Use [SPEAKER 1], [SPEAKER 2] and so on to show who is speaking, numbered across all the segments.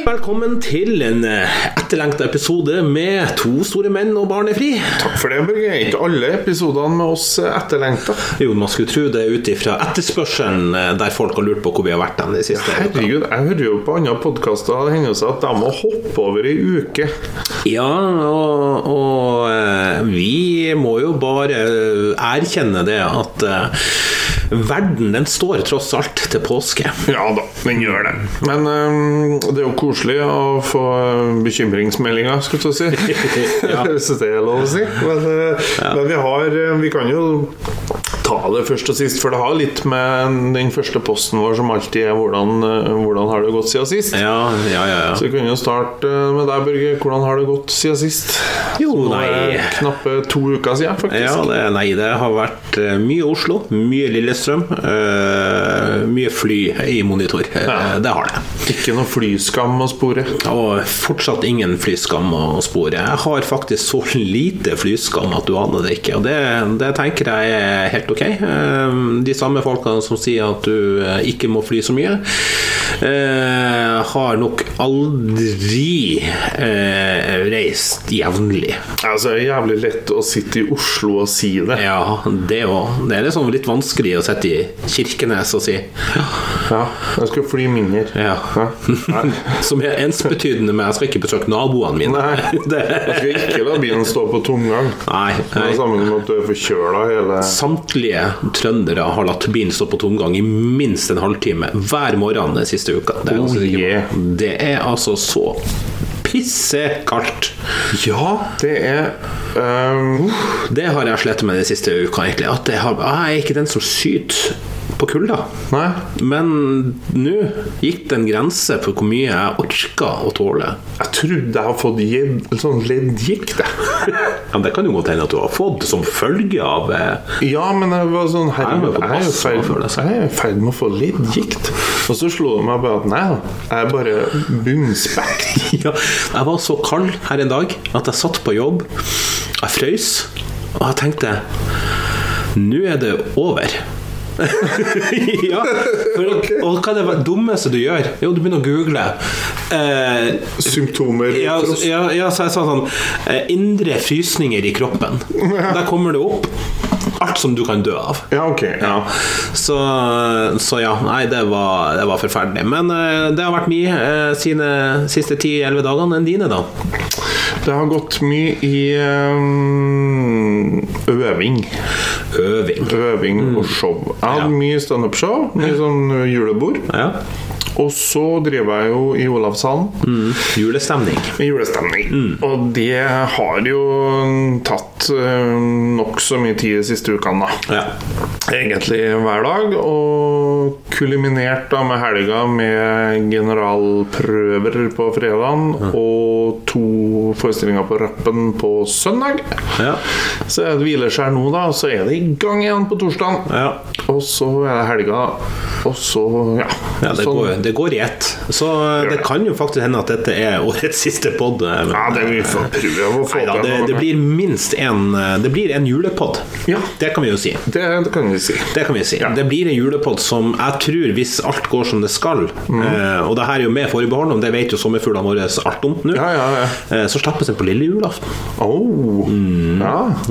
[SPEAKER 1] Velkommen til en etterlengta episode med to store menn og barnefri.
[SPEAKER 2] Takk for det, Børge. Er ikke alle episodene med oss etterlengta?
[SPEAKER 1] Jo, man skulle tro det ut ifra etterspørselen eh, der folk har lurt på hvor vi har vært den de siste
[SPEAKER 2] Herregud, jeg hører jo på andre podkaster det hender seg at de må hoppe over ei uke.
[SPEAKER 1] Ja, og, og, eh, vi må jo bare eh, erkjenne det at eh, verden den står tross alt til påske.
[SPEAKER 2] Ja da, den gjør det. Men um, det er jo koselig å få eh, bekymringsmeldinger, skulle jeg si. ja. Hvis det er lov å si. Men, ja. men, vi har eh, Vi kan jo ta det først og sist, for det har litt med den første posten vår som alltid er hvordan, eh, hvordan har det gått siden sist?
[SPEAKER 1] Ja, ja, ja, ja.
[SPEAKER 2] Så vi kan jo starte eh, med deg, Børge. Hvordan har det gått siden sist?
[SPEAKER 1] Jo, nei
[SPEAKER 2] Knappe to uker siden, faktisk.
[SPEAKER 1] Ja, det, nei, det har vært eh, mye Oslo, mye Lillestrøm. Uh, mye fly i monitor. Uh, ja. Det har det.
[SPEAKER 2] Ikke noe flyskam å spore?
[SPEAKER 1] Og fortsatt ingen flyskam å spore. Jeg har faktisk så lite flyskam at du aner det ikke. Og det, det tenker jeg er helt ok. Uh, de samme folkene som sier at du eh, ikke må fly så mye, eh, har nok aldri eh, reist jevnlig.
[SPEAKER 2] Altså, det er jævlig lett å sitte i Oslo og si det.
[SPEAKER 1] Ja, det òg. Det er liksom litt vanskelig å sitte i Kirkenes og si
[SPEAKER 2] Ja, ja jeg skal fly mindre.
[SPEAKER 1] Ja. Ja. Som er ensbetydende med jeg skal ikke besøke naboene mine.
[SPEAKER 2] Nei, Jeg skal ikke la bilen stå på tomgang.
[SPEAKER 1] Nei, nei.
[SPEAKER 2] Sammen med at du er forkjøla hele
[SPEAKER 1] Samtlige trøndere har latt bilen stå på tomgang i minst en halvtime hver morgen den siste uka.
[SPEAKER 2] Det er, oh, yeah.
[SPEAKER 1] det er altså så pissekaldt.
[SPEAKER 2] Ja, det er um...
[SPEAKER 1] Det har jeg slitt med den siste uka, egentlig. At jeg, har, jeg er ikke den som syter på kulda.
[SPEAKER 2] Nei.
[SPEAKER 1] Men nå gikk det en grense for hvor mye jeg orka å tåle.
[SPEAKER 2] Jeg trodde jeg har fått jed, sånn leddgikt, jeg.
[SPEAKER 1] ja, det kan jo godt hende at du har fått som følge av eh...
[SPEAKER 2] Ja, men jeg var sånn herre, jeg er i ferd med å få leddgikt. Og så slo det meg bare at nei, jeg er bare bumspekt.
[SPEAKER 1] ja, jeg var så kald her en dag at jeg satt på jobb, jeg frøys, og jeg tenkte nå er det over. ja. For, okay. Og hva er det dummeste du gjør? Jo, du begynner å google.
[SPEAKER 2] Eh, Symptomer?
[SPEAKER 1] Ja, altså, ja, ja, så jeg sa sånn eh, Indre frysninger i kroppen. Der kommer det opp. Alt som du kan dø av.
[SPEAKER 2] Ja, ok ja.
[SPEAKER 1] Så, så, ja. Nei, det var, det var forferdelig. Men eh, det har vært mye sine siste 10-11 dagene enn dine, da.
[SPEAKER 2] Det har gått mye i um, øving.
[SPEAKER 1] Øving.
[SPEAKER 2] Øving og show. Jeg hadde Mm. ja. mye standup-show, mye sånn julebord.
[SPEAKER 1] Ja.
[SPEAKER 2] Og så driver jeg jo i Olavshallen.
[SPEAKER 1] Mm. Julestemning.
[SPEAKER 2] Julestemning. Mm. Og det har jo tatt ehm, nokså mye tid de siste ukene, da.
[SPEAKER 1] Ja.
[SPEAKER 2] Egentlig hver dag. Og kuliminert da med helga med generalprøver på fredagen mm. og to forestillinger på Rappen på søndag.
[SPEAKER 1] Ja.
[SPEAKER 2] Så er det hvileskjær nå, da. Så er det i gang igjen på torsdag.
[SPEAKER 1] Ja.
[SPEAKER 2] Og så er det helga, og så Ja.
[SPEAKER 1] ja det, går, det, går, i ett. Så eh, det, det kan jo faktisk hende at dette er årets siste pod.
[SPEAKER 2] Ja, det vi får prøve å få
[SPEAKER 1] til. Det, det, blir minst en eh, Det blir en julepod.
[SPEAKER 2] Ja.
[SPEAKER 1] Det kan vi jo si.
[SPEAKER 2] Det, kan vi si.
[SPEAKER 1] Det, vi si. Ja. det blir en julepod som jeg tror, hvis alt går som det skal mm. Og det her er jo med forbehold, om det vet jo sommerfuglene våre alt om nå, eh, så slappes den på lille julaften.
[SPEAKER 2] Oh. Mm.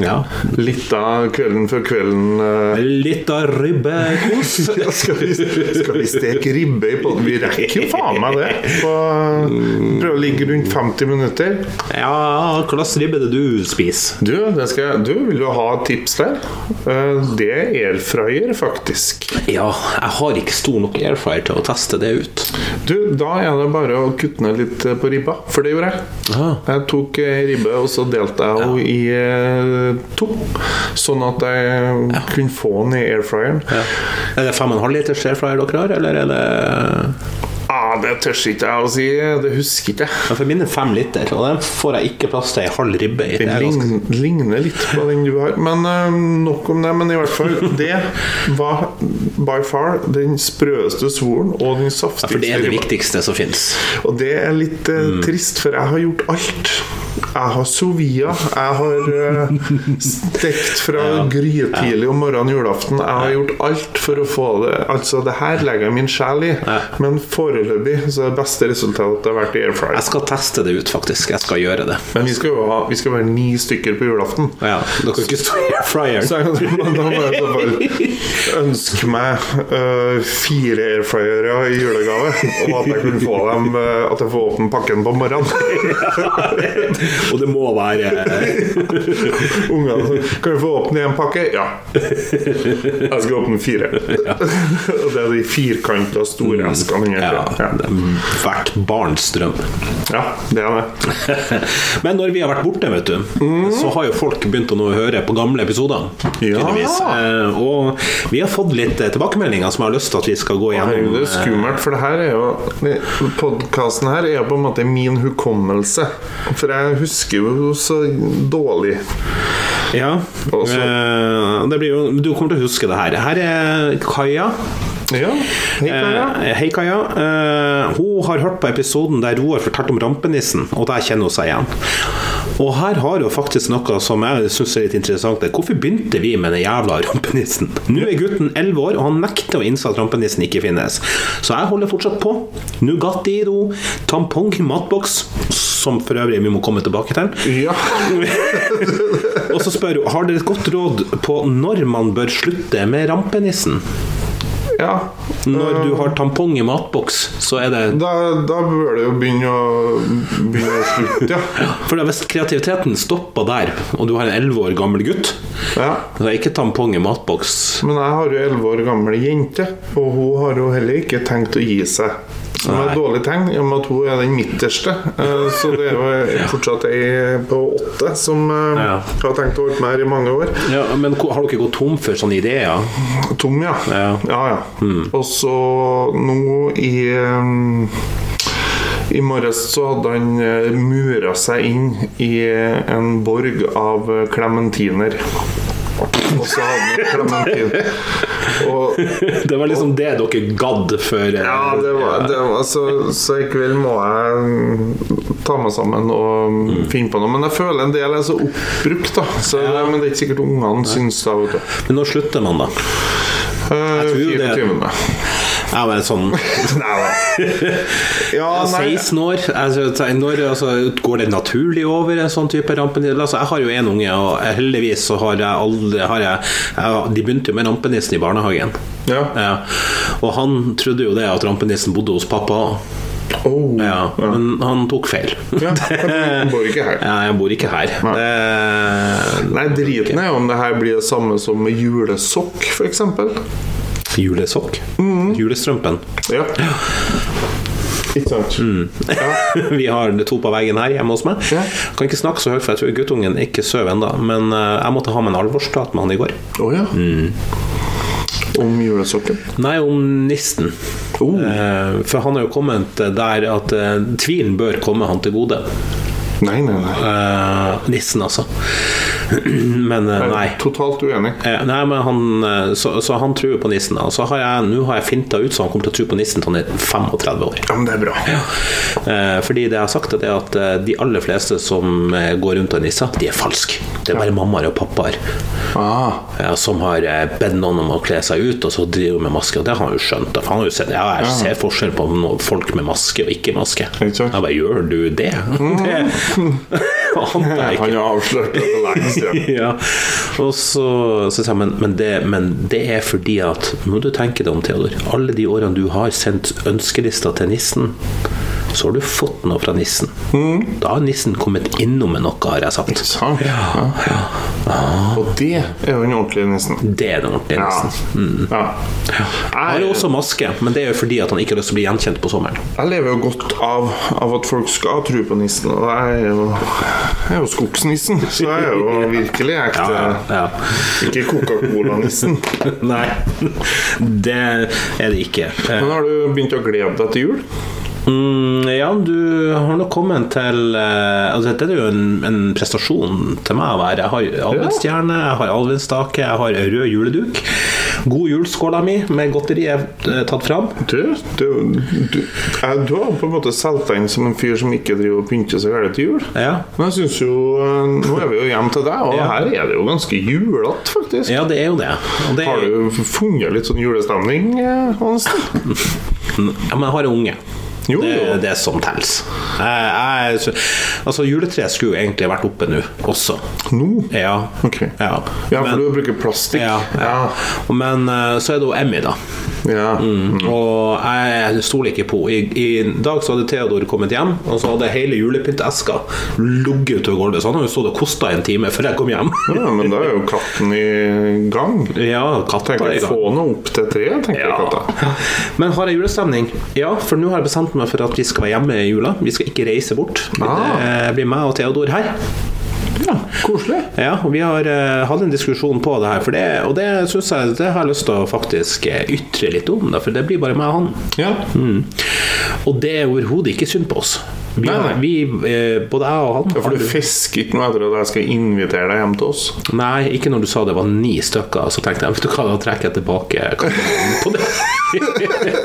[SPEAKER 1] Ja.
[SPEAKER 2] Litt av kvelden før kvelden uh...
[SPEAKER 1] Litt av ribbekos.
[SPEAKER 2] skal, vi, skal vi steke ribbe i potten? Vi rekker jo faen meg det. Prøve å ligge rundt 50 minutter.
[SPEAKER 1] Ja, hva slags ribbe det du spiser?
[SPEAKER 2] Du, skal, du vil jo ha tips der. Eh, Det er airfryer, faktisk.
[SPEAKER 1] Ja, jeg har ikke stor nok airfryer til å teste det ut.
[SPEAKER 2] Du, da er det bare å kutte ned litt eh, på ribba, for det gjorde jeg.
[SPEAKER 1] Aha.
[SPEAKER 2] Jeg tok eh, ribbe, og så delte jeg henne ja. i to, sånn at jeg ja. kunne få den i airfryeren.
[SPEAKER 1] Ja. Er det 5,5 liters airfryer dere har, eller er det
[SPEAKER 2] ah, det tør ikke jeg å si. Det husker ikke jeg.
[SPEAKER 1] Ja, For mine fem liter, og den får jeg ikke plass til ei halv ribbe i. Det
[SPEAKER 2] Den
[SPEAKER 1] er ganske-
[SPEAKER 2] lign, ligner litt på den du har. Men eh, nok om det. Men i hvert fall, det var by far den sprøeste svoren og den
[SPEAKER 1] Ja, for
[SPEAKER 2] saftigste
[SPEAKER 1] det Mm. er det
[SPEAKER 2] ribba.
[SPEAKER 1] viktigste som fins.
[SPEAKER 2] Og det er litt eh, trist, for jeg har gjort alt. Jeg har sovia, jeg har eh, stekt fra grytidlig om morgenen julaften. Jeg har gjort alt for å få det Altså, det her legger jeg min sjel i, men foreløpig så er det beste resultatet har vært i air fryer.
[SPEAKER 1] Jeg skal teste det ut, faktisk. Jeg skal gjøre det.
[SPEAKER 2] Men vi skal jo ha, vi skal være ni stykker på julaften.
[SPEAKER 1] Ja, dere kan ikke stå i air fryer.
[SPEAKER 2] Så jeg, men da må jeg i så fall ønske meg eh, fire airfryere i julegave, og at jeg kunne få dem eh, At jeg får åpne pakken på morgenen.
[SPEAKER 1] Og det må være eh,
[SPEAKER 2] Ungene så, Kan vi få åpne en pakke? Ja. Jeg skal åpne fire. Og det er de firkanta, store eskene under.
[SPEAKER 1] Mm. ja,
[SPEAKER 2] Ja.
[SPEAKER 1] det er hvert barns drøm.
[SPEAKER 2] ja, det er det.
[SPEAKER 1] Men når vi har vært borte, vet du, så har jo folk begynt å nå høre på gamle episoder.
[SPEAKER 2] Mm. Ja.
[SPEAKER 1] tydeligvis. Eh, Og vi har fått litt eh, tilbakemeldinger som jeg har lyst til at vi skal gå
[SPEAKER 2] Herregud,
[SPEAKER 1] gjennom.
[SPEAKER 2] det er skummelt, for det her er jo Podkasten her er jo på en måte min hukommelse. For jeg husker jo så dårlig.
[SPEAKER 1] Ja.
[SPEAKER 2] Og så-
[SPEAKER 1] Eh, Det blir jo, du kommer til å huske det her. Her er Kaja.
[SPEAKER 2] Ja, helt klart,
[SPEAKER 1] Eh, Hei, Kaja. Eh, hun har hørt på episoden der Roar fortalte om rampenissen, og der kjenner hun seg igjen. Og her har hun faktisk noe som jeg syns er litt interessant. Hvorfor begynte vi med den jævla rampenissen? Nå er gutten 11 år, og han nekter å innse at rampenissen ikke finnes. Så jeg holder fortsatt på. Nugatti i ro, tampong, matboks, som for øvrig vi må komme tilbake til.
[SPEAKER 2] ja. ja.
[SPEAKER 1] Og så spør hun har dere et godt råd på når man bør slutte med rampenissen.
[SPEAKER 2] Ja,
[SPEAKER 1] Når du har tampong i matboks, så er det
[SPEAKER 2] da, da bør det jo begynne å, begynne å slutte, ja.
[SPEAKER 1] For da, hvis kreativiteten stopper der, og du har en 11 år gammel gutt
[SPEAKER 2] ja.
[SPEAKER 1] så er ikke tampong i matboks.
[SPEAKER 2] Men jeg har jo 11 år gammel jente, og hun har jo heller ikke tenkt å gi seg. Som
[SPEAKER 1] Nei.
[SPEAKER 2] er et dårlig tegn, i og med at hun er den midterste. Eh, Så det er jo fortsatt ei på åtte som eh,
[SPEAKER 1] Ja.
[SPEAKER 2] har tenkt å holde med her i mange år.
[SPEAKER 1] Ja, men ko- har dere gått tom sånn for sånne ideer?
[SPEAKER 2] Tom, ja.
[SPEAKER 1] Ja. Hmm.
[SPEAKER 2] ja, ja. Og så nå i um, I morges så hadde han eh, mura seg inn i en borg av klementiner. Og så hadde han klementin. Og
[SPEAKER 1] Det var liksom det dere gadd før eh,
[SPEAKER 2] ja, det var, det var så, så i kveld må jeg ta meg sammen og
[SPEAKER 1] Hmm.
[SPEAKER 2] finne på noe. Men jeg føler en del er så oppbrukt, da. Så, Men det er ikke sikkert ungene syns det. vet du.
[SPEAKER 1] Men når slutter man, da?
[SPEAKER 2] Eh,
[SPEAKER 1] tror det-
[SPEAKER 2] 24..
[SPEAKER 1] Ja, men sånn
[SPEAKER 2] Ja, nei,
[SPEAKER 1] 16 år? Altså, te- når altså, går det naturlig over en sånn type rampenisse? Altså, jeg har jo én unge, og heldigvis så har jeg aldri har jeg, jeg, De begynte jo med rampenissen i barnehagen.
[SPEAKER 2] Ja.
[SPEAKER 1] Ja. Og han trodde jo det at rampenissen bodde hos pappa.
[SPEAKER 2] Oh.
[SPEAKER 1] Ja, men han tok feil.
[SPEAKER 2] Ja, han bor ikke her.
[SPEAKER 1] Ja, jeg bor ikke her. Det...
[SPEAKER 2] Nei, driten er jo om det her blir det samme som med julesokk, f.eks.
[SPEAKER 1] Julesokk?
[SPEAKER 2] Mm.
[SPEAKER 1] Julestrømpen.
[SPEAKER 2] Ja. Ikke sant?
[SPEAKER 1] Vi har to på veggen her hjemme hos meg.
[SPEAKER 2] Ja.
[SPEAKER 1] Kan ikke snakke så høyt, for jeg tror guttungen ikke sover ennå. Men eh, jeg måtte ha med en alvorsprat med han i går.
[SPEAKER 2] Å ja. Om julesokken.
[SPEAKER 1] Nei, om nissen.
[SPEAKER 2] Oh.
[SPEAKER 1] Eh, For han har jo kommet der at eh, tvilen bør komme han til gode.
[SPEAKER 2] Nei, nei, nei.
[SPEAKER 1] Eh, nissen, altså. Men eh, nei.
[SPEAKER 2] Totalt uenig.
[SPEAKER 1] Eh, Nei, men han, eh, så, så han tror jo på nissen. da. Så har jeg, nå har jeg finta ut, så han kommer til å tro på nissen til han er 35 år.
[SPEAKER 2] Ja, men det er bra.
[SPEAKER 1] Eh, Fordi det jeg har sagt, det er at eh, de aller fleste som eh, går rundt og nisser, de er falske. Det er bare mammaer og pappaer
[SPEAKER 2] Ah.
[SPEAKER 1] eh, som har eh, bedt noen om å kle seg ut, og så driver med maske. Og det har han jo skjønt. da, For han har jo sett, ja, jeg ser forskjell på no- folk med maske og ikke maske.
[SPEAKER 2] Ikke sant? Mm.
[SPEAKER 1] Jeg bare, gjør du det? Det ante jeg ikke.
[SPEAKER 2] Han har avslørt det for lenge siden.
[SPEAKER 1] Ja, og så, så sier jeg, men, men, det, men det er fordi at Må du tenke deg om, Theodor. Alle de årene du har sendt ønskelista til nissen, så har du fått noe fra nissen. Da har nissen kommet innom med noe, har jeg sagt.
[SPEAKER 2] Mm. Sant?
[SPEAKER 1] Ja,
[SPEAKER 2] Og det er jo den ordentlige Ah. nissen. Mm.
[SPEAKER 1] det er den ordentlige
[SPEAKER 2] Ja.
[SPEAKER 1] nissen.
[SPEAKER 2] ja.
[SPEAKER 1] Han har
[SPEAKER 2] Jeg-
[SPEAKER 1] jo også maske, men det er jo fordi at han ikke har lyst til å bli gjenkjent på sommeren.
[SPEAKER 2] Jeg lever jo godt av, av at folk skal tro på nissen, og jeg er jo Jeg er jo skogsnissen, så jeg er jo virkelig ekte.
[SPEAKER 1] ja.
[SPEAKER 2] Ikke Coca-Cola-nissen.
[SPEAKER 1] Nei, det er det ikke. Eh,
[SPEAKER 2] Men har du begynt å glede deg til jul?
[SPEAKER 1] Mm, ja, du har nå kommet til eh, altså, Dette er jo en, en prestasjon til meg å være. Jeg har alvenstjerne, jeg har alvenstake, jeg har rød juleduk. God jul-skåla mi med godteri er eh, tatt fram.
[SPEAKER 2] Du, du, du, ja, du har på en måte solgt deg inn som en fyr som ikke driver og pynter seg gærent til jul.
[SPEAKER 1] Ja.
[SPEAKER 2] Men jeg synes jo eh, Nå er vi jo hjemme til deg, og
[SPEAKER 1] Ja.
[SPEAKER 2] her er det jo ganske julete, faktisk.
[SPEAKER 1] ja, det er jo det. Og det
[SPEAKER 2] Har du funnet litt sånn julestemning, eh, Hansen?
[SPEAKER 1] Ja, men jeg har en unge.
[SPEAKER 2] Jo,
[SPEAKER 1] Det
[SPEAKER 2] jo.
[SPEAKER 1] er det som teller. Jeg- jeg- Altså, juletreet skulle jo egentlig vært oppe nå også.
[SPEAKER 2] Nå?
[SPEAKER 1] Ja.
[SPEAKER 2] Ok.
[SPEAKER 1] ja.
[SPEAKER 2] Ja,
[SPEAKER 1] Men-
[SPEAKER 2] for du bruker plastikk?
[SPEAKER 1] ja, ja. Men eh, så er det jo Emmy, da.
[SPEAKER 2] ja.
[SPEAKER 1] Og jeg stoler ikke på. I, I dag så hadde Theodor kommet hjem, og så hadde hele julepynteeska ligget utover gulvet. Så han har jo stått og kosta en time før jeg kom hjem.
[SPEAKER 2] ja, men da er jo katten i gang.
[SPEAKER 1] ja, katta
[SPEAKER 2] Tenker
[SPEAKER 1] er i
[SPEAKER 2] jeg,
[SPEAKER 1] gang.
[SPEAKER 2] Få henne opp til tre, tenker jeg. Katta.
[SPEAKER 1] Men har jeg julestemning? Ja, for nå har jeg bestemt meg for at vi skal være hjemme i jula. Vi skal ikke reise bort.
[SPEAKER 2] Ah.
[SPEAKER 1] Det eh, blir meg og Theodor her.
[SPEAKER 2] Ja, koselig.
[SPEAKER 1] Ja, og vi har eh, hatt en diskusjon på det her, for det, og det synes jeg det har jeg lyst til å faktisk eh, ytre litt om. Da, for det blir bare meg og han.
[SPEAKER 2] Ja.
[SPEAKER 1] Mm. Og det er overhodet ikke synd på oss. Vi,
[SPEAKER 2] Nei, nei.
[SPEAKER 1] vi eh, både jeg og han
[SPEAKER 2] For du fisker ikke noe etter at jeg skal invitere deg hjem til oss?
[SPEAKER 1] Nei, ikke når du sa det var ni stykker. Så tenkte jeg vet du hva, da trekker jeg tilbake kampen på det.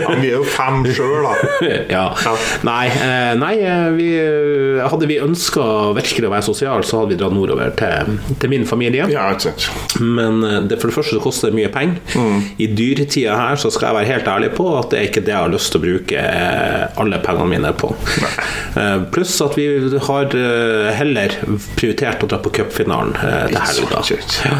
[SPEAKER 2] Ja, vi er jo fem sjøl, da.
[SPEAKER 1] ja.
[SPEAKER 2] Ja.
[SPEAKER 1] Nei, eh, nei eh, vi, eh, hadde vi ønska virkelig å være sosiale, så hadde vi dratt nordover til, til min familie.
[SPEAKER 2] Ja, ikke sant.
[SPEAKER 1] Men eh, det, for det første så koster det mye penger.
[SPEAKER 2] Mm.
[SPEAKER 1] I dyretida her så skal jeg være helt ærlig på at det er ikke det jeg har lyst til å bruke eh, alle pengene mine på. Eh, Pluss at vi har eh, heller prioritert å dra på cupfinalen eh, til helga.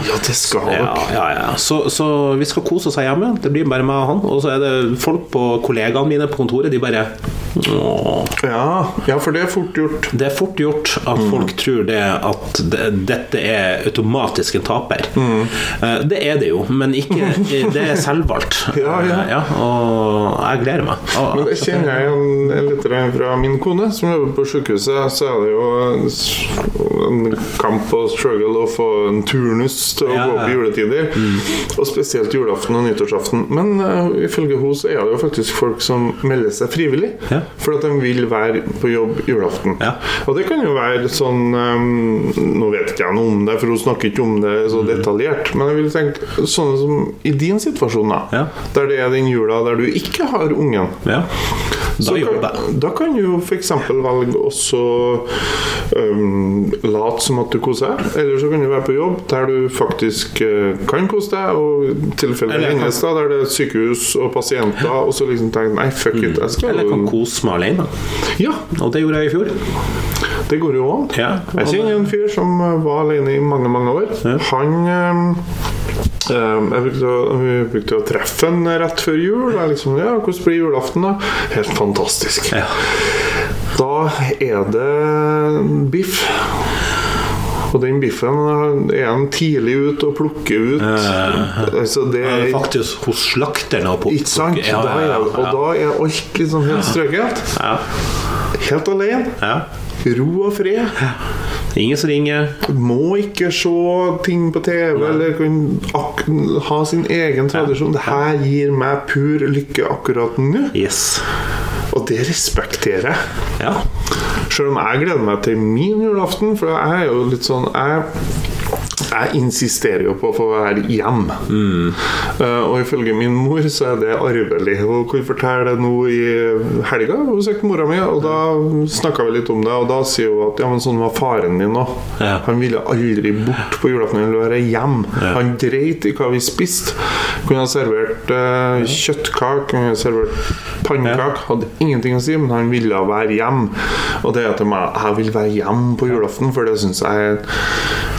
[SPEAKER 2] Ja, det skal dere.
[SPEAKER 1] Ja, ja, ja. Så, så vi skal kose oss her hjemme. Det blir bare meg og han. Og så er det folk på kollegaene mine på kontoret, de bare Åh.
[SPEAKER 2] Ja, ja, for det er fort gjort.
[SPEAKER 1] Det er fort gjort at
[SPEAKER 2] Mm.
[SPEAKER 1] folk tror det at det, dette er automatisk en taper.
[SPEAKER 2] Mm.
[SPEAKER 1] Eh, Det er det jo, men ikke Det er selvvalgt.
[SPEAKER 2] Ja, ja.
[SPEAKER 1] Eh, og jeg gleder meg. Og-
[SPEAKER 2] Men det kjenner jeg igjen litt grann fra min kone, som jobber på sykehuset. Så er det jo en kamp og struggle å få en turnus til å
[SPEAKER 1] Ja,
[SPEAKER 2] gå opp
[SPEAKER 1] ja.
[SPEAKER 2] i
[SPEAKER 1] Mm.
[SPEAKER 2] juletider. Og spesielt julaften og nyttårsaften. Men eh, ifølge henne så er det jo faktisk folk som melder seg frivillig.
[SPEAKER 1] Ja.
[SPEAKER 2] For at de vil være på jobb julaften.
[SPEAKER 1] Ja.
[SPEAKER 2] Og det kan jo være sånn eh, Nå vet ikke jeg noe om det, for hun snakker ikke om det
[SPEAKER 1] Mm.
[SPEAKER 2] så detaljert. Men jeg vil tenke sånne som i din situasjon, da.
[SPEAKER 1] Ja.
[SPEAKER 2] Der det er den jula der du ikke har ungen.
[SPEAKER 1] ja. Da
[SPEAKER 2] Så
[SPEAKER 1] jobber jeg.
[SPEAKER 2] kan, da kan du jo f.eks. velge også um, late som at du koser deg. Eller så kan du være på jobb der du faktisk eh, kan kose deg. Og tilfellet
[SPEAKER 1] Eller jeg kan-
[SPEAKER 2] hennes, da, der det er sykehus og pasienter, og så liksom tenke nei, fuck it, jeg skal
[SPEAKER 1] Eller jeg kan kose meg alene.
[SPEAKER 2] Ja,
[SPEAKER 1] Og det gjorde jeg i fjor.
[SPEAKER 2] det går jo an.
[SPEAKER 1] Ja.
[SPEAKER 2] Jeg kjenner en fyr som eh, var alene i mange, mange år.
[SPEAKER 1] Ja.
[SPEAKER 2] Han eh, eh, jeg brukte, å- vi brukte å treffe han rett før jul. Jeg liksom, ja, 'Hvordan blir julaften, da?' Helt fantastisk.
[SPEAKER 1] Ja.
[SPEAKER 2] Da er det biff. Og den biffen eh, er han tidlig ute og plukker ut. altså det er
[SPEAKER 1] Faktisk hos slakteren og på
[SPEAKER 2] ikke sant?
[SPEAKER 1] Ja, ja,
[SPEAKER 2] Da er,
[SPEAKER 1] ja,
[SPEAKER 2] og
[SPEAKER 1] ja.
[SPEAKER 2] da er alt liksom helt strøket.
[SPEAKER 1] Ja,
[SPEAKER 2] Helt alene.
[SPEAKER 1] ja.
[SPEAKER 2] Ro og fred.
[SPEAKER 1] Ingen som ringer.
[SPEAKER 2] Må ikke se ting på TV eller kan ak ha sin egen tradisjon. Det her gir meg pur lykke akkurat nå,
[SPEAKER 1] Yes.
[SPEAKER 2] og det respekterer jeg.
[SPEAKER 1] Ja.
[SPEAKER 2] Selv om jeg gleder meg til min julaften, for jeg er jo litt sånn Jeg, jeg insisterer jo på å få være hjemme. Eh, og ifølge min mor så er det arvelig. Hun kunne fortelle det nå i helga. Hun besøkte mora mi, og da snakka vi litt om det. Og da sier hun at ja, men sånn var faren din òg.
[SPEAKER 1] Ja.
[SPEAKER 2] Han ville aldri bort på julaften, han ville være hjemme. Han dreit i hva vi spiste. Kunne ha servert eh, kjøttkake, kunne ha servert pannekake. Hadde ingenting å si, men han ville være hjemme. Og det er til meg Jeg vil være hjemme på julaften, for det syns jeg er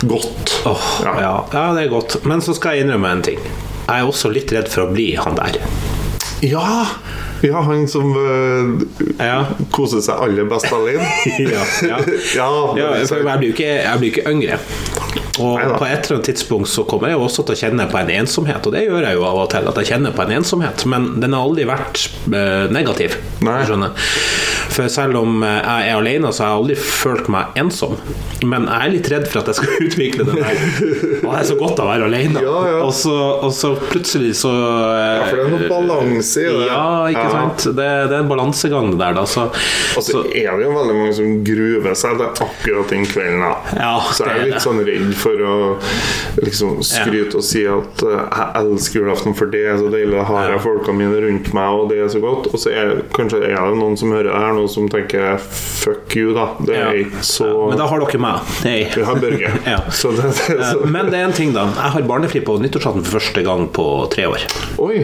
[SPEAKER 2] godt.
[SPEAKER 1] Åh,
[SPEAKER 2] Ja.
[SPEAKER 1] ja. Ja. det er godt. Men så skal jeg innrømme en ting. Jeg er også litt redd for å bli han der.
[SPEAKER 2] Ja! Ja, han som eh,
[SPEAKER 1] Ja.
[SPEAKER 2] koser seg aller best alene.
[SPEAKER 1] Ja, ja.
[SPEAKER 2] ja, det
[SPEAKER 1] Ja,
[SPEAKER 2] vil jeg
[SPEAKER 1] for
[SPEAKER 2] si.
[SPEAKER 1] jeg blir jo ikke, jeg blir ikke yngre. Og
[SPEAKER 2] Neida.
[SPEAKER 1] på et eller annet tidspunkt så kommer jeg jo også til å kjenne på en ensomhet, og det gjør jeg jo av og til, at jeg kjenner på en ensomhet, men den har aldri vært eh, negativ.
[SPEAKER 2] Nei.
[SPEAKER 1] du skjønner. For selv om eh, jeg er alene, så har jeg aldri følt meg ensom. Men jeg er litt redd for at jeg skal utvikle den der. Og det er så godt å være alene.
[SPEAKER 2] Ja, ja.
[SPEAKER 1] Og, så, og så plutselig så
[SPEAKER 2] Ja, for det er noe balanse i det.
[SPEAKER 1] Ja, ikke
[SPEAKER 2] Ja. Altså,
[SPEAKER 1] sant. Det, det er en balansegang, det der, da. Så,
[SPEAKER 2] Og så
[SPEAKER 1] så
[SPEAKER 2] er det jo veldig mange som gruver seg til akkurat den kvelden. da.
[SPEAKER 1] Ja,
[SPEAKER 2] så
[SPEAKER 1] det
[SPEAKER 2] jeg er
[SPEAKER 1] er
[SPEAKER 2] litt
[SPEAKER 1] det.
[SPEAKER 2] sånn redd for å liksom skryte og si at eh, jeg elsker julaften for det er så deilig, da har jeg folka mine rundt meg, og det er så godt. Og så er kanskje er det noen som hører det her nå, som tenker fuck you, da. Det
[SPEAKER 1] ja.
[SPEAKER 2] er ikke så
[SPEAKER 1] Ja, Men da har dere meg. Hei.
[SPEAKER 2] Vi har Børge.
[SPEAKER 1] Ja.
[SPEAKER 2] Så det, det er
[SPEAKER 1] Eh,
[SPEAKER 2] så
[SPEAKER 1] Men det er en ting, da. Jeg har barnefri på nyttårsaften for første gang på tre år.
[SPEAKER 2] Oi!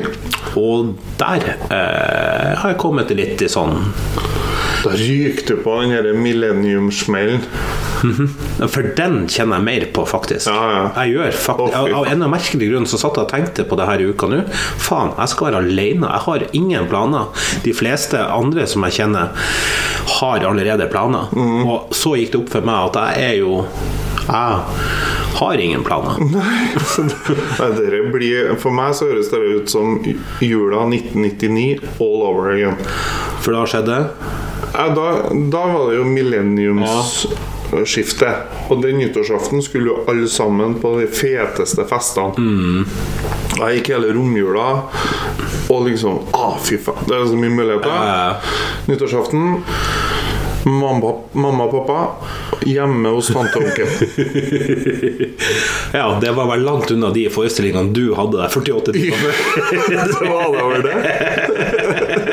[SPEAKER 1] Og der eh, har jeg kommet litt i sånn
[SPEAKER 2] Da ryker du på den derre millennium-smellen.
[SPEAKER 1] For den kjenner jeg mer på, faktisk.
[SPEAKER 2] Ja, ja.
[SPEAKER 1] Jeg gjør
[SPEAKER 2] Å, fy
[SPEAKER 1] faktisk av, av en eller annen merkelig grunn så satt jeg og tenkte på det her i uka nå. Faen, jeg skal være alene. Jeg har ingen planer. De fleste andre som jeg kjenner, har allerede planer.
[SPEAKER 2] Mhm.
[SPEAKER 1] Og så gikk det opp for meg at jeg er jo Jeg har ingen planer.
[SPEAKER 2] Nei, dere blir, for meg så høres det ut som jula 1999 all over again.
[SPEAKER 1] For da skjedde
[SPEAKER 2] Ja, da, da var det jo millenniumsskiftet. Og den nyttårsaften skulle jo alle sammen på de feteste festene.
[SPEAKER 1] Mm.
[SPEAKER 2] Jeg gikk hele romjula og liksom ah, Fy faen, det er så mye muligheter.
[SPEAKER 1] ja, ja.
[SPEAKER 2] Nyttårsaften mamma, mamma og pappa hjemme hos tante og onkel.
[SPEAKER 1] Ja, det var vel langt unna de forestillingene du hadde der 48 timer før.
[SPEAKER 2] Så var det over det.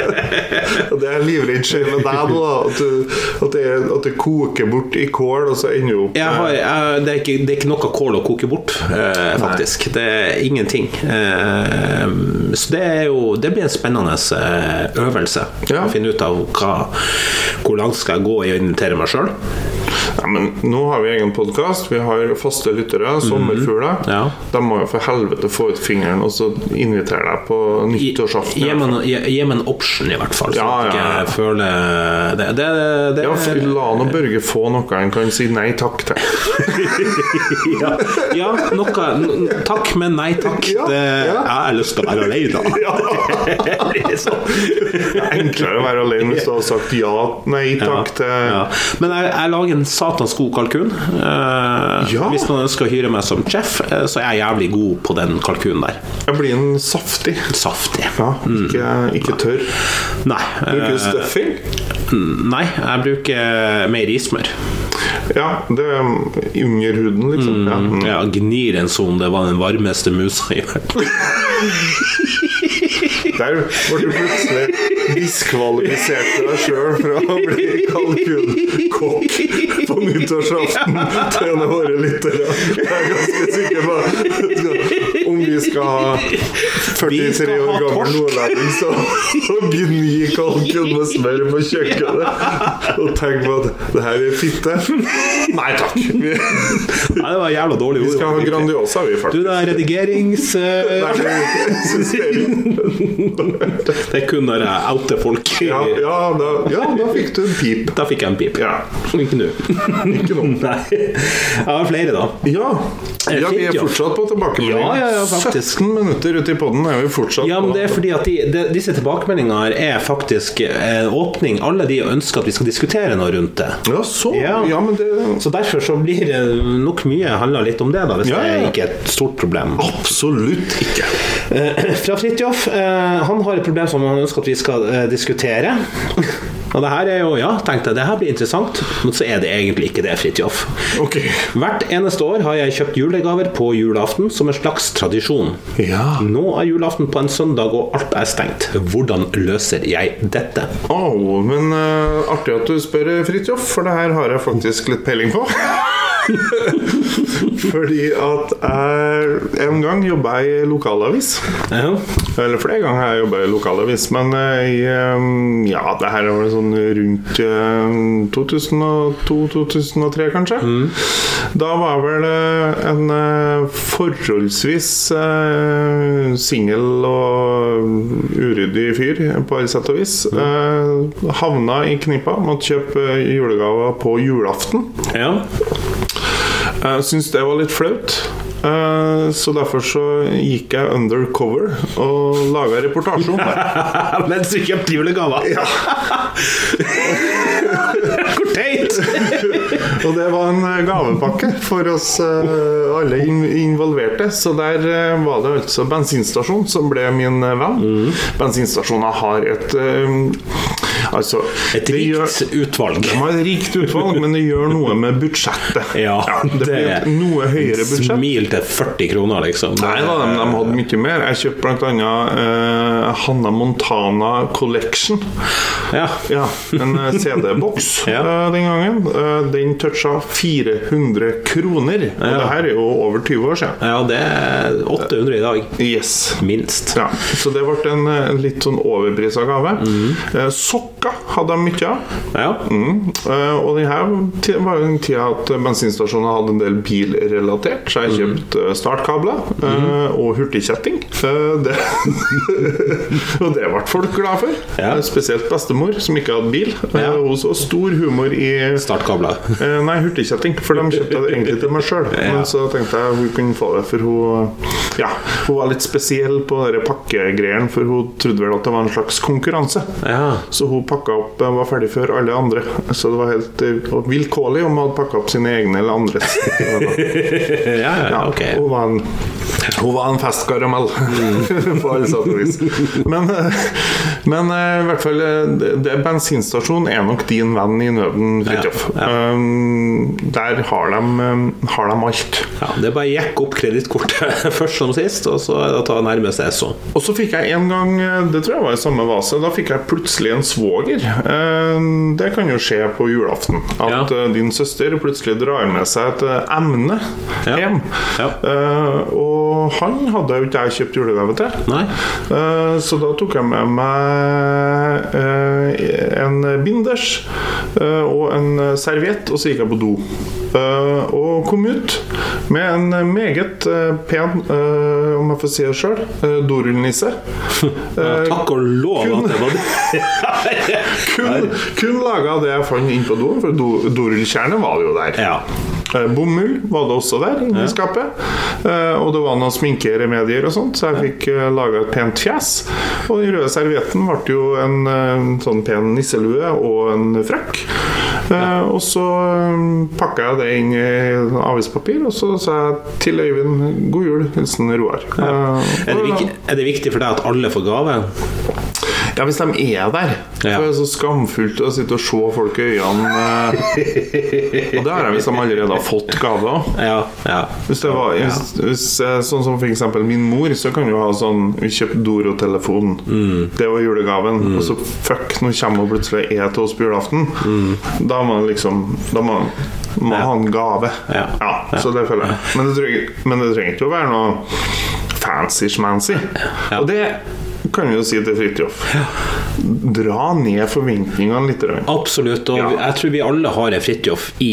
[SPEAKER 2] Og det er livredd skjer med deg nå, da. At, du, at, det, er- at det koker bort i kål, og så ender du opp
[SPEAKER 1] Jeg har, jeg, det, er ikke, det er ikke noe kål å koke bort, eh, faktisk. Det er ingenting. Eh, så det, er jo, det blir en spennende eh, øvelse.
[SPEAKER 2] Ja.
[SPEAKER 1] Å finne ut av hva, hvor langt skal jeg gå i å invitere meg sjøl.
[SPEAKER 2] Nei, men nå har vi egen podkast, vi har faste lyttere, sommerfugler.
[SPEAKER 1] Mhm. Ja.
[SPEAKER 2] De må jo for helvete få ut fingeren og så invitere deg på nyttårsaften.
[SPEAKER 1] Gi meg en- gi- gi meg en option, i hvert fall. Så
[SPEAKER 2] Ja,
[SPEAKER 1] at jeg
[SPEAKER 2] ja, ja.
[SPEAKER 1] ikke føler det, det, det,
[SPEAKER 2] ja, for la nå Børge få noe han kan si nei takk til.
[SPEAKER 1] ja, ja, noe n- Takk, men nei takk.
[SPEAKER 2] Ja,
[SPEAKER 1] det,
[SPEAKER 2] ja.
[SPEAKER 1] Jeg har lyst til å være alene. Det er
[SPEAKER 2] Liksom.
[SPEAKER 1] sånn.
[SPEAKER 2] Det er enklere å være alene hvis du hadde sagt ja, nei takk til
[SPEAKER 1] Ja. Men jeg, jeg lager en satans god kalkun. Eh,
[SPEAKER 2] Ja.
[SPEAKER 1] Hvis noen ønsker å hyre meg som chef, eh, så er jeg jævlig god på den kalkunen der.
[SPEAKER 2] Jeg blir en saftig.
[SPEAKER 1] Saftig.
[SPEAKER 2] Ja, ikke, ikke tørr.
[SPEAKER 1] Nei. eh,
[SPEAKER 2] Bruker du stuffing?
[SPEAKER 1] nei, jeg bruker meierismør.
[SPEAKER 2] Ja, det er under huden, liksom. Ja. Mm.
[SPEAKER 1] Ja, gnir en som om det var den varmeste musa i verden.
[SPEAKER 2] Der ble du plutselig diskvalifisert til deg sjøl fra å bli kalkunkokk på nyttårsaften til en av våre lyttere. Jeg er ganske sikker på om vi skal ha
[SPEAKER 1] Vi skal
[SPEAKER 2] 43 år
[SPEAKER 1] ha
[SPEAKER 2] gammel
[SPEAKER 1] torsk.
[SPEAKER 2] nordlending som som gni kalkun med smør på kjøkkenet og tenke på at det her er fitte. Nei takk. Vi,
[SPEAKER 1] Nei, det var jævla dårlig
[SPEAKER 2] vi skal ha Grandiosa, vi,
[SPEAKER 1] Du,
[SPEAKER 2] faktisk.
[SPEAKER 1] det er redigerings... eh,
[SPEAKER 2] Nei, jeg synes det er
[SPEAKER 1] det er kun når jeg outer folk.
[SPEAKER 2] Ja, ja, da, ja, da fikk du en pip.
[SPEAKER 1] Da fikk jeg en pip.
[SPEAKER 2] Ja.
[SPEAKER 1] Ikke nå.
[SPEAKER 2] Ikke noe.
[SPEAKER 1] Nei. Jeg har flere, da.
[SPEAKER 2] Ja.
[SPEAKER 1] Eh,
[SPEAKER 2] ja, vi
[SPEAKER 1] fint,
[SPEAKER 2] er
[SPEAKER 1] ja.
[SPEAKER 2] fortsatt på tilbakemelding.
[SPEAKER 1] Ja, ja, ja, faktisk.
[SPEAKER 2] 17 minutter ut i podden er vi fortsatt
[SPEAKER 1] Ja, men det er fordi at de, de, disse tilbakemeldingene her er faktisk en åpning. Alle de ønsker at vi skal diskutere noe rundt det.
[SPEAKER 2] på. Ja, så. Ja,
[SPEAKER 1] Ja.
[SPEAKER 2] men det
[SPEAKER 1] Så derfor så blir det nok mye handla litt om det, da, hvis
[SPEAKER 2] Ja, ja,
[SPEAKER 1] det
[SPEAKER 2] ja.
[SPEAKER 1] er ikke er et stort problem.
[SPEAKER 2] Absolutt ikke.
[SPEAKER 1] Eh, Fra Fridtjof. eh, Han har et problem som han ønsker at vi skal eh, diskutere. Og det her er jo, ja, tenkte jeg, det her blir interessant, men så er det egentlig ikke det, Fridtjof.
[SPEAKER 2] Ok.
[SPEAKER 1] Hvert eneste år har jeg kjøpt julegaver på julaften som en slags tradisjon.
[SPEAKER 2] Ja.
[SPEAKER 1] Nå er julaften på en søndag, og alt er stengt. Hvordan løser jeg dette?
[SPEAKER 2] Au, men eh, artig at du spør, Fridtjof, for det her har jeg faktisk litt peiling på. Fordi at jeg en gang jobba i lokalavis.
[SPEAKER 1] Ja.
[SPEAKER 2] Eller flere ganger har jeg jobba i lokalavis, men eh, i, eh, ja, det her var sånn rundt eh, 2002-2003, kanskje. Da var vel eh, en eh, forholdsvis eh, singel og uryddig fyr, på alle sett og vis. eh, Havna i knipa, måtte kjøpe eh, julegaver på julaften.
[SPEAKER 1] Ja.
[SPEAKER 2] Jeg syns det var litt flaut. Eh, Så derfor så gikk jeg undercover og laga reportasje om det.
[SPEAKER 1] Mens du kjøpte julegaver!
[SPEAKER 2] Ja.
[SPEAKER 1] Hvor teit!
[SPEAKER 2] Og det var en eh, gavepakke for oss eh, alle in involverte. Så der eh, var det altså bensinstasjon som ble min eh, venn.
[SPEAKER 1] Mm.
[SPEAKER 2] Bensinstasjoner har et eh, Altså
[SPEAKER 1] Et
[SPEAKER 2] det gjør-
[SPEAKER 1] rikt utvalg.
[SPEAKER 2] De har et rikt utvalg, men det gjør noe med budsjettet.
[SPEAKER 1] Ja,
[SPEAKER 2] det blir
[SPEAKER 1] det-
[SPEAKER 2] et noe høyere budsjett.
[SPEAKER 1] Smil til 40 kroner, liksom.
[SPEAKER 2] Nei da, men de hadde mye mer. Jeg kjøpte bl.a. Uh, Hanna Montana Collection.
[SPEAKER 1] Ja.
[SPEAKER 2] Ja, En eh, CD-boks
[SPEAKER 1] Ja.
[SPEAKER 2] eh, den gangen. Eh, den toucha 400 kroner. Og det her er jo over 20 år siden.
[SPEAKER 1] ja, det er 800 i dag.
[SPEAKER 2] Yes.
[SPEAKER 1] Minst.
[SPEAKER 2] Ja, så det ble en eh, litt sånn overprisa gave. Eh, sokker hadde de mye av.
[SPEAKER 1] Ja.
[SPEAKER 2] Mm. eh, og det her ti- var jo den tida at bensinstasjoner hadde en del bilrelatert, så
[SPEAKER 1] Mm.
[SPEAKER 2] jeg kjøpte eh, startkabler eh, og hurtigkjetting. Eh, det og det ble folk glad for.
[SPEAKER 1] Ja.
[SPEAKER 2] Eh, Spesielt bestemor, som ikke hadde bil. Eh,
[SPEAKER 1] Ja.
[SPEAKER 2] Hun så stor humor i
[SPEAKER 1] Startkabler.
[SPEAKER 2] Eh, nei, hurtigkjetting, for de kjøpte det egentlig til meg sjøl.
[SPEAKER 1] Ja.
[SPEAKER 2] Men så tenkte jeg hun kunne få det, for hun Ja, hun var litt spesiell på de pakkegreiene, for hun trodde vel at det var en slags konkurranse.
[SPEAKER 1] Ja.
[SPEAKER 2] Så hun pakka opp eh, var ferdig før alle andre. Så det var helt eh, vilkårlig om hun hadde pakka opp sine egne eller andres.
[SPEAKER 1] Ja, ja,
[SPEAKER 2] Ja,
[SPEAKER 1] ok.
[SPEAKER 2] hun, var en, hun var en festkaramell,
[SPEAKER 1] Mm.
[SPEAKER 2] på alle sett og vis. Men, eh, men eh, i hvert fall eh, det, det, Bensinstasjonen er nok din venn i nøden, Fridtjof.
[SPEAKER 1] Ja,
[SPEAKER 2] Um, der har de, um, har de alt.
[SPEAKER 1] Ja, det er bare å jekke opp kredittkortet først som sist, og så er det å ta nærmeste SO.
[SPEAKER 2] Og så fikk jeg en gang, eh, det tror jeg var i samme vase, da fikk jeg plutselig en svoger. Eh, Det kan jo skje på julaften. At
[SPEAKER 1] Ja.
[SPEAKER 2] eh, din søster plutselig drar med seg et eh, emne
[SPEAKER 1] Ja.
[SPEAKER 2] hjem.
[SPEAKER 1] Ja.
[SPEAKER 2] Eh, Og han hadde jo ikke jeg kjøpt julegave til.
[SPEAKER 1] Nei?
[SPEAKER 2] Eh, Så da tok jeg med meg eh, en binders eh, og en serviett, og så gikk jeg på do. Eh, Og kom ut med en meget eh, pen, eh, om jeg får si det sjøl, dorullnisse. Eh,
[SPEAKER 1] Ja, takk og lov at det var det.
[SPEAKER 2] Kun, kun laga det jeg fant inn på doen, for do, dorullkjernet var det jo der.
[SPEAKER 1] Ja.
[SPEAKER 2] Eh, Bomull var det også der, inni skapet. Eh, og det var noen sminkeremedier og sånt, så jeg fikk uh, laga et pent fjes. Og den røde servietten ble jo en eh, sånn pen nisselue og en frakk. Eh, og så um, pakka jeg det inn i avispapir, og så sa jeg til Øyvind 'god jul', hilsen Roar. Eh,
[SPEAKER 1] Er det,
[SPEAKER 2] og da-
[SPEAKER 1] viktig, er det viktig for deg at alle får gave?
[SPEAKER 2] ja, hvis de er der.
[SPEAKER 1] Ja.
[SPEAKER 2] For det er så skamfullt å sitte og se folk i øynene. eh. Og det har jeg hvis de allerede har fått gave òg.
[SPEAKER 1] Ja. ja.
[SPEAKER 2] Hvis det var hvis, hvis, eh, Sånn som for eksempel min mor, så kan jo ha sånn Vi kjøpte Doro-telefon.
[SPEAKER 1] Mm.
[SPEAKER 2] Det var julegaven. Og så fuck, nå kommer hun plutselig og er til oss på julaften.
[SPEAKER 1] Mm.
[SPEAKER 2] Da må man liksom Da må man må ha en gave.
[SPEAKER 1] Ja.
[SPEAKER 2] Så det føler jeg. Men det trenger, men det trenger ikke å være noe fancy-schmancy.
[SPEAKER 1] Ja.
[SPEAKER 2] Og det kan vi jo si til Fridtjof. Dra ned forventningene litt. Røy.
[SPEAKER 1] Absolutt. Og
[SPEAKER 2] Ja.
[SPEAKER 1] jeg tror vi alle har en Fridtjof i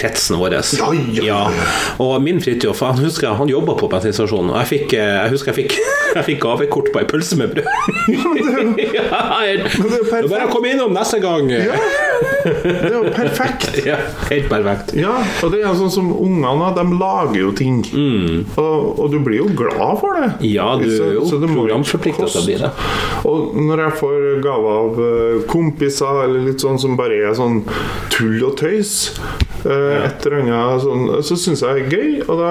[SPEAKER 1] kretsen vår.
[SPEAKER 2] Ja, ja, ja.
[SPEAKER 1] Og min Fridtjof han husker jeg, han jobba på bensinstasjonen, og jeg, fikk, eh, jeg husker jeg fikk, jeg fikk gavekort på ei pølse med brød. ja, jeg,
[SPEAKER 2] det er jo
[SPEAKER 1] det er bare å komme innom neste gang.
[SPEAKER 2] Ja. Det er jo perfekt.
[SPEAKER 1] Ja, helt perfekt.
[SPEAKER 2] Ja, og det er sånn som ungene, de lager jo ting. Og, og du blir jo glad for det.
[SPEAKER 1] Mm. Ja, du er jo
[SPEAKER 2] det må jo
[SPEAKER 1] programforpliktet til å bli det.
[SPEAKER 2] koste. Og når jeg får gave av eh, kompiser, eller litt sånn som bare er sånn tull og tøys, eh, et eller annet sånn, så syns jeg det er gøy. Og da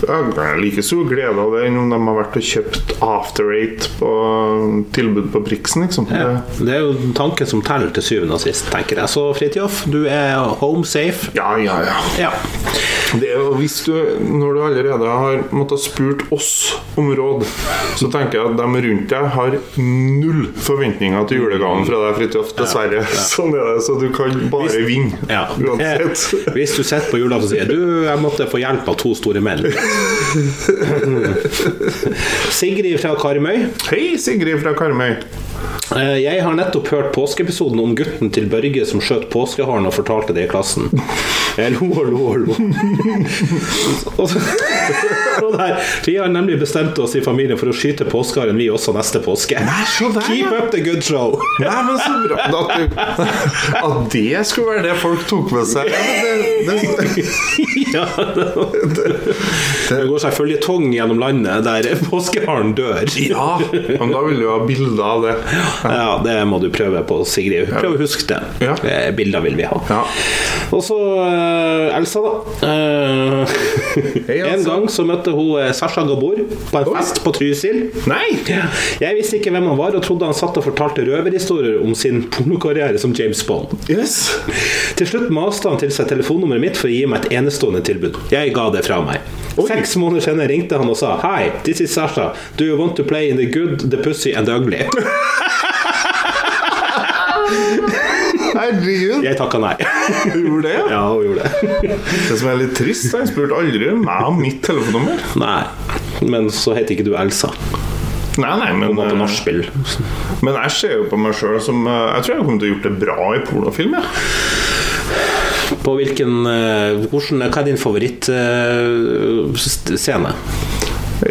[SPEAKER 2] jeg har like stor glede av det enn om de har vært og kjøpt After Eight på eh, tilbud på Priksen, liksom.
[SPEAKER 1] Ja.
[SPEAKER 2] Det-
[SPEAKER 1] Det er jo tanken som teller til syvende og sist, tenker jeg. Så Fridtjof, du er home safe.
[SPEAKER 2] Ja, ja, ja.
[SPEAKER 1] Ja.
[SPEAKER 2] Det er jo hvis du, Når du allerede har måttet spurt oss om råd, så tenker jeg at de rundt deg har null forventninger til julegaven fra deg, Fridtjof. Dessverre. Sånn er det. Så du kan bare vinne
[SPEAKER 1] ja.
[SPEAKER 2] uansett.
[SPEAKER 1] Hvis du sitter på julaften og sier du, jeg måtte få hjelp av to store menn. Sigrid fra Karmøy.
[SPEAKER 2] Hei, Sigrid fra Karmøy.
[SPEAKER 1] Eh, Jeg har nettopp hørt påskeepisoden om gutten til Børge som skjøt påskeharen og fortalte det i klassen. Jeg lo og lo og lo. Og så- og der, vi har nemlig bestemt oss i familien for å skyte påskeharen vi også neste påske.
[SPEAKER 2] så der,
[SPEAKER 1] Keep
[SPEAKER 2] ja.
[SPEAKER 1] up the good show!
[SPEAKER 2] Nei, men så bra at, det, at det skulle være det folk tok med seg. Ja, men det, det,
[SPEAKER 1] ja, det, det går selvfølgelig tong gjennom landet der påskeharen dør.
[SPEAKER 2] ja. Men da vil du ha bilde av det.
[SPEAKER 1] Ja, det må du prøve på, Sigrid. Prøv å huske det.
[SPEAKER 2] Ja.
[SPEAKER 1] Eh, Bilder vil vi ha.
[SPEAKER 2] Ja.
[SPEAKER 1] Og så eh, Elsa, da. Eh,
[SPEAKER 2] Hei,
[SPEAKER 1] En
[SPEAKER 2] Elsa.
[SPEAKER 1] gang så møtte hun eh, Sasha Gabor på en
[SPEAKER 2] Oi.
[SPEAKER 1] fest på Trysil.
[SPEAKER 2] Nei!
[SPEAKER 1] Jeg visste ikke hvem han var, og trodde han satt og fortalte røverhistorier om sin pornokarriere som James Bond.
[SPEAKER 2] Yes.
[SPEAKER 1] Til slutt maste han til seg telefonnummeret mitt for å gi meg et enestående tilbud. Jeg ga det fra meg. Seks måneder senere ringte han og sa Hi, this is Sasha. Do you want to play in the good, the pussy and the ugly?
[SPEAKER 2] Herregud.
[SPEAKER 1] Jeg takka nei.
[SPEAKER 2] Du gjorde det, ja?
[SPEAKER 1] Ja, hun gjorde det.
[SPEAKER 2] Det som er litt trist, er at han spurte aldri meg om mitt telefonnummer.
[SPEAKER 1] Nei. Men så heter ikke du Elsa.
[SPEAKER 2] Nei, nei, men, eh,
[SPEAKER 1] Hun var på nachspiel.
[SPEAKER 2] men jeg ser jo på meg sjøl som eh, Jeg tror jeg kommer til å gjort det bra i pornofilm. Jeg.
[SPEAKER 1] På hvilken eh, hvordan, Hva er din favorittscene?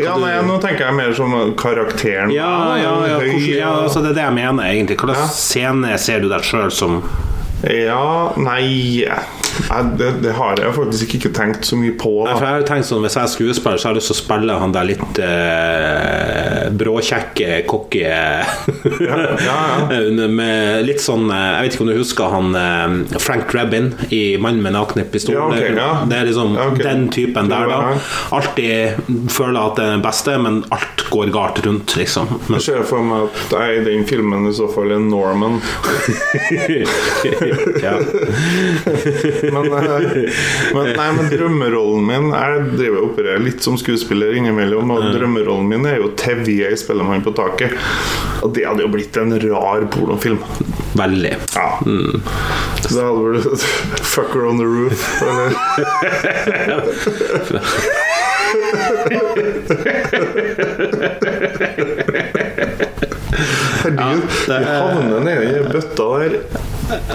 [SPEAKER 2] Ja, nei, Nå tenker jeg mer som karakteren.
[SPEAKER 1] ja, ja, ja,
[SPEAKER 2] Høy,
[SPEAKER 1] hvordan, ja altså, Det er det jeg mener, egentlig. Hvilken
[SPEAKER 2] Ja.
[SPEAKER 1] scene ser du deg sjøl som
[SPEAKER 2] Ja, nei jeg, det, det har jeg faktisk ikke tenkt så mye på.
[SPEAKER 1] For
[SPEAKER 2] Da.
[SPEAKER 1] jeg har jo tenkt sånn, Hvis jeg er skuespiller, så har jeg lyst til å spille han der litt eh, bråkjekke, cocky eh,
[SPEAKER 2] ja,
[SPEAKER 1] Med litt sånn eh, Jeg vet ikke om du husker han eh, Frank Rabin i 'Mannen med nakne pistol'?
[SPEAKER 2] Ja, ok, ja.
[SPEAKER 1] Det er liksom
[SPEAKER 2] Ja, ok.
[SPEAKER 1] den typen der,
[SPEAKER 2] Ja, ja.
[SPEAKER 1] da. Alltid føler at det er den beste, men alt går galt rundt, liksom. Men,
[SPEAKER 2] Jeg ser for meg at jeg i den filmen i så fall er Norman.
[SPEAKER 1] ja.
[SPEAKER 2] Men, eh, men, nei, men drømmerollen min Jeg driver og opererer litt som skuespiller innimellom, og drømmerollen min er jo Tevye i 'Spellemann på taket'. Og det hadde jo blitt en rar pornofilm.
[SPEAKER 1] Veldig.
[SPEAKER 2] Ja. Så det hadde vært 'Fucker on the roof'. Eller Herregud,
[SPEAKER 1] Ja, det
[SPEAKER 2] vi
[SPEAKER 1] er-
[SPEAKER 2] havner nedi den bøtta der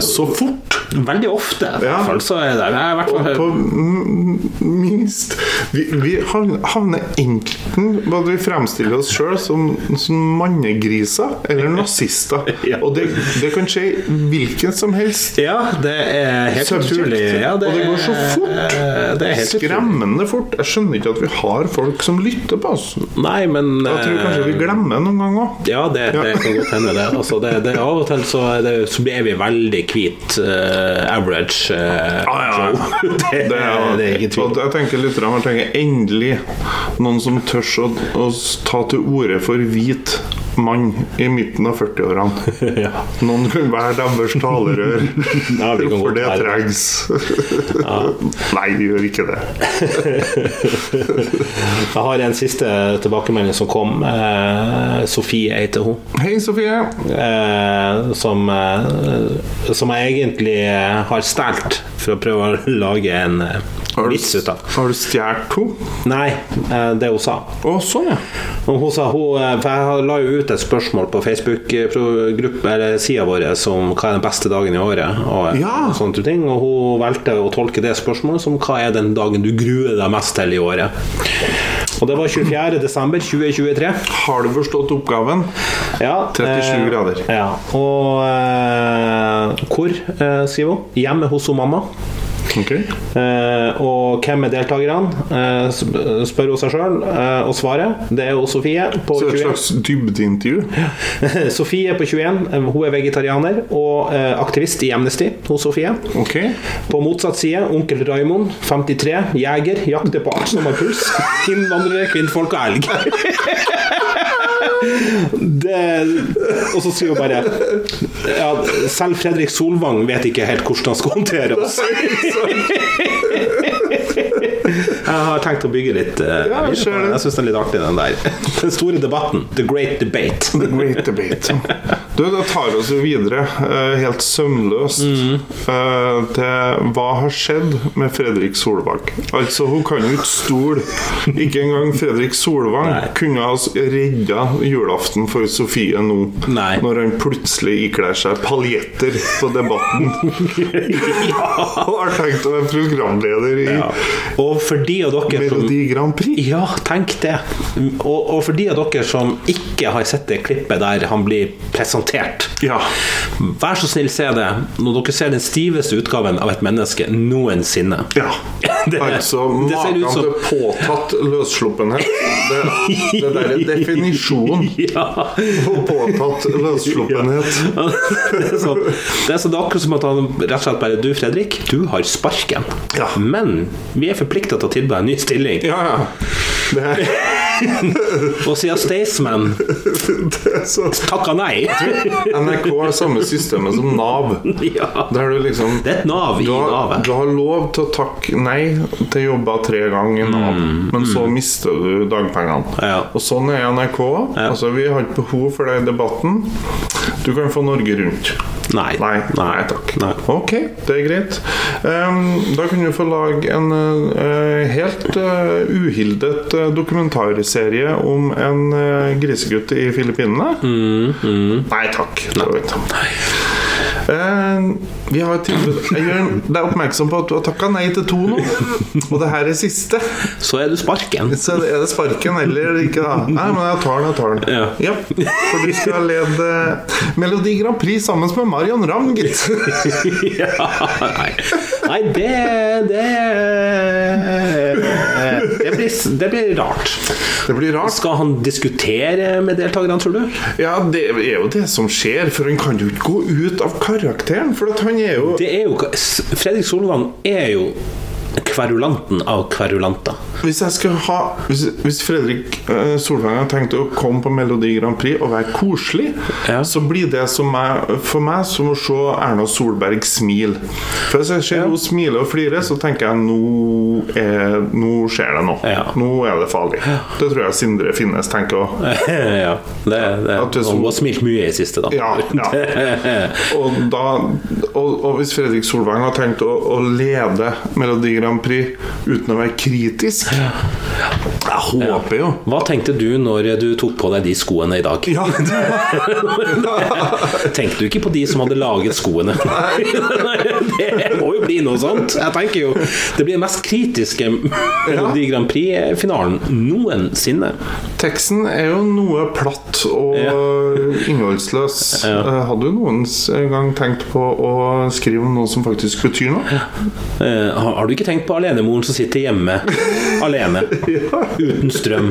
[SPEAKER 2] så fort.
[SPEAKER 1] Veldig ofte, i
[SPEAKER 2] Ja.
[SPEAKER 1] hvert fall. Så er det. Jeg er i hvert
[SPEAKER 2] Og
[SPEAKER 1] fall
[SPEAKER 2] på m- minst Vi, vi havn- havner enten på at vi fremstiller oss sjøl som, som mannegriser eller nazister.
[SPEAKER 1] Ja.
[SPEAKER 2] Og det, det kan skje i hvilken som helst.
[SPEAKER 1] Ja, det er helt
[SPEAKER 2] Subject.
[SPEAKER 1] utrolig. Ja,
[SPEAKER 2] Og det går så fort.
[SPEAKER 1] eh, Det er helt utrolig.
[SPEAKER 2] Skremmende fort. Jeg skjønner ikke at vi har folk som lytter på oss. Jeg
[SPEAKER 1] Nei, men eh,
[SPEAKER 2] tror kanskje vi glemmer noen ganger òg.
[SPEAKER 1] ja, det, det kan godt hende, det. Altså, det, det av og til så, er det, så blir vi veldig hvit eh, average. eh,
[SPEAKER 2] Ah, ja, ja.
[SPEAKER 1] Joe. Det,
[SPEAKER 2] Det er,
[SPEAKER 1] det er ikke tvil.
[SPEAKER 2] Og jeg tenker litt rann, jeg tenker, Endelig noen som tør å, å ta til orde for hvit mann i midten av 40-årene.
[SPEAKER 1] Ja.
[SPEAKER 2] Noen kan være deres talerør,
[SPEAKER 1] Ja, vi kan godt
[SPEAKER 2] for det
[SPEAKER 1] være
[SPEAKER 2] trengs. Nei, vi gjør ikke det.
[SPEAKER 1] Jeg har en siste tilbakemelding som kom. Eh, Sofie heter hun.
[SPEAKER 2] Hei, Sofie.
[SPEAKER 1] eh, som, eh, som jeg egentlig eh, har stjålet for å prøve å lage en eh,
[SPEAKER 2] Har
[SPEAKER 1] vits
[SPEAKER 2] du,
[SPEAKER 1] ut av.
[SPEAKER 2] har du stjålet to?
[SPEAKER 1] Nei, eh, det hun sa.
[SPEAKER 2] Å, sånn, ja.
[SPEAKER 1] Og hun sa hun, eh, for Jeg la jo ut et spørsmål på Facebook-sida vår om hva er den beste dagen i året. Og, eh,
[SPEAKER 2] Ja.
[SPEAKER 1] sånne type ting, og hun valgte å tolke det spørsmålet som hva er den dagen du gruer deg mest til i året. Og det var 24.12.2023.
[SPEAKER 2] Har du forstått oppgaven?
[SPEAKER 1] Ja, eh,
[SPEAKER 2] 37 grader.
[SPEAKER 1] Ja. Og eh, hvor, eh, skriver hun? Hjemme hos hun mamma.
[SPEAKER 2] Ok.
[SPEAKER 1] Eh, og hvem er deltakerne? Eh, sp- spør hun seg sjøl, eh, og svaret det er jo Sofie på
[SPEAKER 2] Så et
[SPEAKER 1] 21.
[SPEAKER 2] slags dybdeintervju?
[SPEAKER 1] Sofie på 21, eh, hun er vegetarianer og eh, aktivist i Amnesty hos Sofie.
[SPEAKER 2] Ok.
[SPEAKER 1] På motsatt side, onkel Raimond, 53, jeger, jakter på arsen og puls. Innvandrere, kvinnfolk og elg. Det, og så sier hun bare ja, Selv Fredrik Solvang vet ikke helt hvordan han skal håndtere oss. Jeg har tenkt å bygge litt. eh,
[SPEAKER 2] Ja, jeg ser det.
[SPEAKER 1] jeg syns den er litt artig, den der. Den store debatten. The great debate.
[SPEAKER 2] The great debate. Du, det tar oss jo videre, eh, helt sømløst, eh, til hva har skjedd med Fredrik Solvang. Altså, hun kan jo ikke stole. Ikke engang Fredrik Solvang
[SPEAKER 1] Nei.
[SPEAKER 2] kunne ha s- redda julaften for Sofie nå,
[SPEAKER 1] Nei.
[SPEAKER 2] når han plutselig ikler seg paljetter på Debatten. Og har tenkt å være programleder i
[SPEAKER 1] Ja. Og for de av dere som
[SPEAKER 2] Melodi Grand Prix.
[SPEAKER 1] Ja, tenk det. Og, og for de av dere som ikke har sett det klippet der han blir presentert
[SPEAKER 2] Ja.
[SPEAKER 1] Vær så snill, se det når dere ser den stiveste utgaven av et menneske noensinne.
[SPEAKER 2] Ja.
[SPEAKER 1] Det-
[SPEAKER 2] altså,
[SPEAKER 1] det ser
[SPEAKER 2] maken
[SPEAKER 1] ut som-
[SPEAKER 2] til påtatt løssluppenhet. Det, det der er definisjonen
[SPEAKER 1] Ja.
[SPEAKER 2] på påtatt løssluppenhet.
[SPEAKER 1] det, er sånn, det er sånn det er akkurat som at han rett og slett bare Du, Fredrik, du har sparken.
[SPEAKER 2] Ja.
[SPEAKER 1] Men vi er forplikta til å tilby deg en ny stilling.
[SPEAKER 2] Ja, ja. Det er,
[SPEAKER 1] Og siden Staysman
[SPEAKER 2] det er så
[SPEAKER 1] takka nei
[SPEAKER 2] NRK har samme systemet som Nav.
[SPEAKER 1] ja.
[SPEAKER 2] Der du liksom
[SPEAKER 1] Det er et Nav i
[SPEAKER 2] du har,
[SPEAKER 1] Navet.
[SPEAKER 2] du har lov til å takke nei til jobber tre ganger i Nav, men så mister du dagpengene.
[SPEAKER 1] Mm, Ja.
[SPEAKER 2] Og sånn er NRK. Altså, vi har ikke behov for det i debatten. Du kan få Norge rundt.
[SPEAKER 1] Nei.
[SPEAKER 2] Nei, nei takk.
[SPEAKER 1] Nei.
[SPEAKER 2] Ok, det er greit. Ehm, da kan du få lage en eh, helt eh, uhildet eh, dokumentarserie om en eh, grisegutt i Filippinene. Mm, Nei takk. det var ikke. Ehm, vi har et tilbud Jeg gjør deg oppmerksom på at du har takka nei til to nå. Og det her er siste.
[SPEAKER 1] Så er du sparken.
[SPEAKER 2] Så er det- er det sparken eller ikke, da? Nei, men jeg tar den. jeg tar den
[SPEAKER 1] Ja.
[SPEAKER 2] Ja, For du skal lede Melodi Grand Prix sammen med Marion Ramm, gitt.
[SPEAKER 1] ja, nei. nei, det Det, det, blir, det blir rart.
[SPEAKER 2] Det blir rart.
[SPEAKER 1] Skal han diskutere med deltakerne, tror du?
[SPEAKER 2] Ja, det er jo det som skjer, for han kan jo ikke gå ut av karakteren. For at han er jo
[SPEAKER 1] Det er jo Fredrik Solvang er jo kverulanten av kverulanter.
[SPEAKER 2] Hvis jeg skal ha Hvis, hvis Fredrik eh, Solvang har tenkt å komme på Melodi Grand Prix og være koselig,
[SPEAKER 1] Ja.
[SPEAKER 2] så blir det som er, for meg som å se Erna Solberg smile. For hvis jeg ser hun smile og flire, så tenker jeg nå, er, nå skjer det noe.
[SPEAKER 1] Ja.
[SPEAKER 2] Nå er det farlig. Det tror jeg Sindre Finnes tenker òg.
[SPEAKER 1] ja, det, det.
[SPEAKER 2] At det er så-
[SPEAKER 1] Hun har smilt mye i det siste, da.
[SPEAKER 2] Ja, ja. Og, da, og, og hvis Fredrik Solvang har tenkt å, å lede Melodi Grand Prix uten å være kritisk Jeg håper jo
[SPEAKER 1] Hva tenkte du når du tok på deg de skoene i dag?
[SPEAKER 2] ja,
[SPEAKER 1] Tenkte du ikke på de som hadde laget skoene? det må jo bli noe sånt. Jeg tenker jo Det blir den mest kritiske Melodi Grand Prix-finalen noensinne.
[SPEAKER 2] Teksten er jo noe platt og innholdsløs. Eh, Hadde du noen gang tenkt på å skrive om noe som faktisk betyr noe?
[SPEAKER 1] Eh, har, har du ikke tenkt på alenemoren som sitter hjemme alene, uten strøm?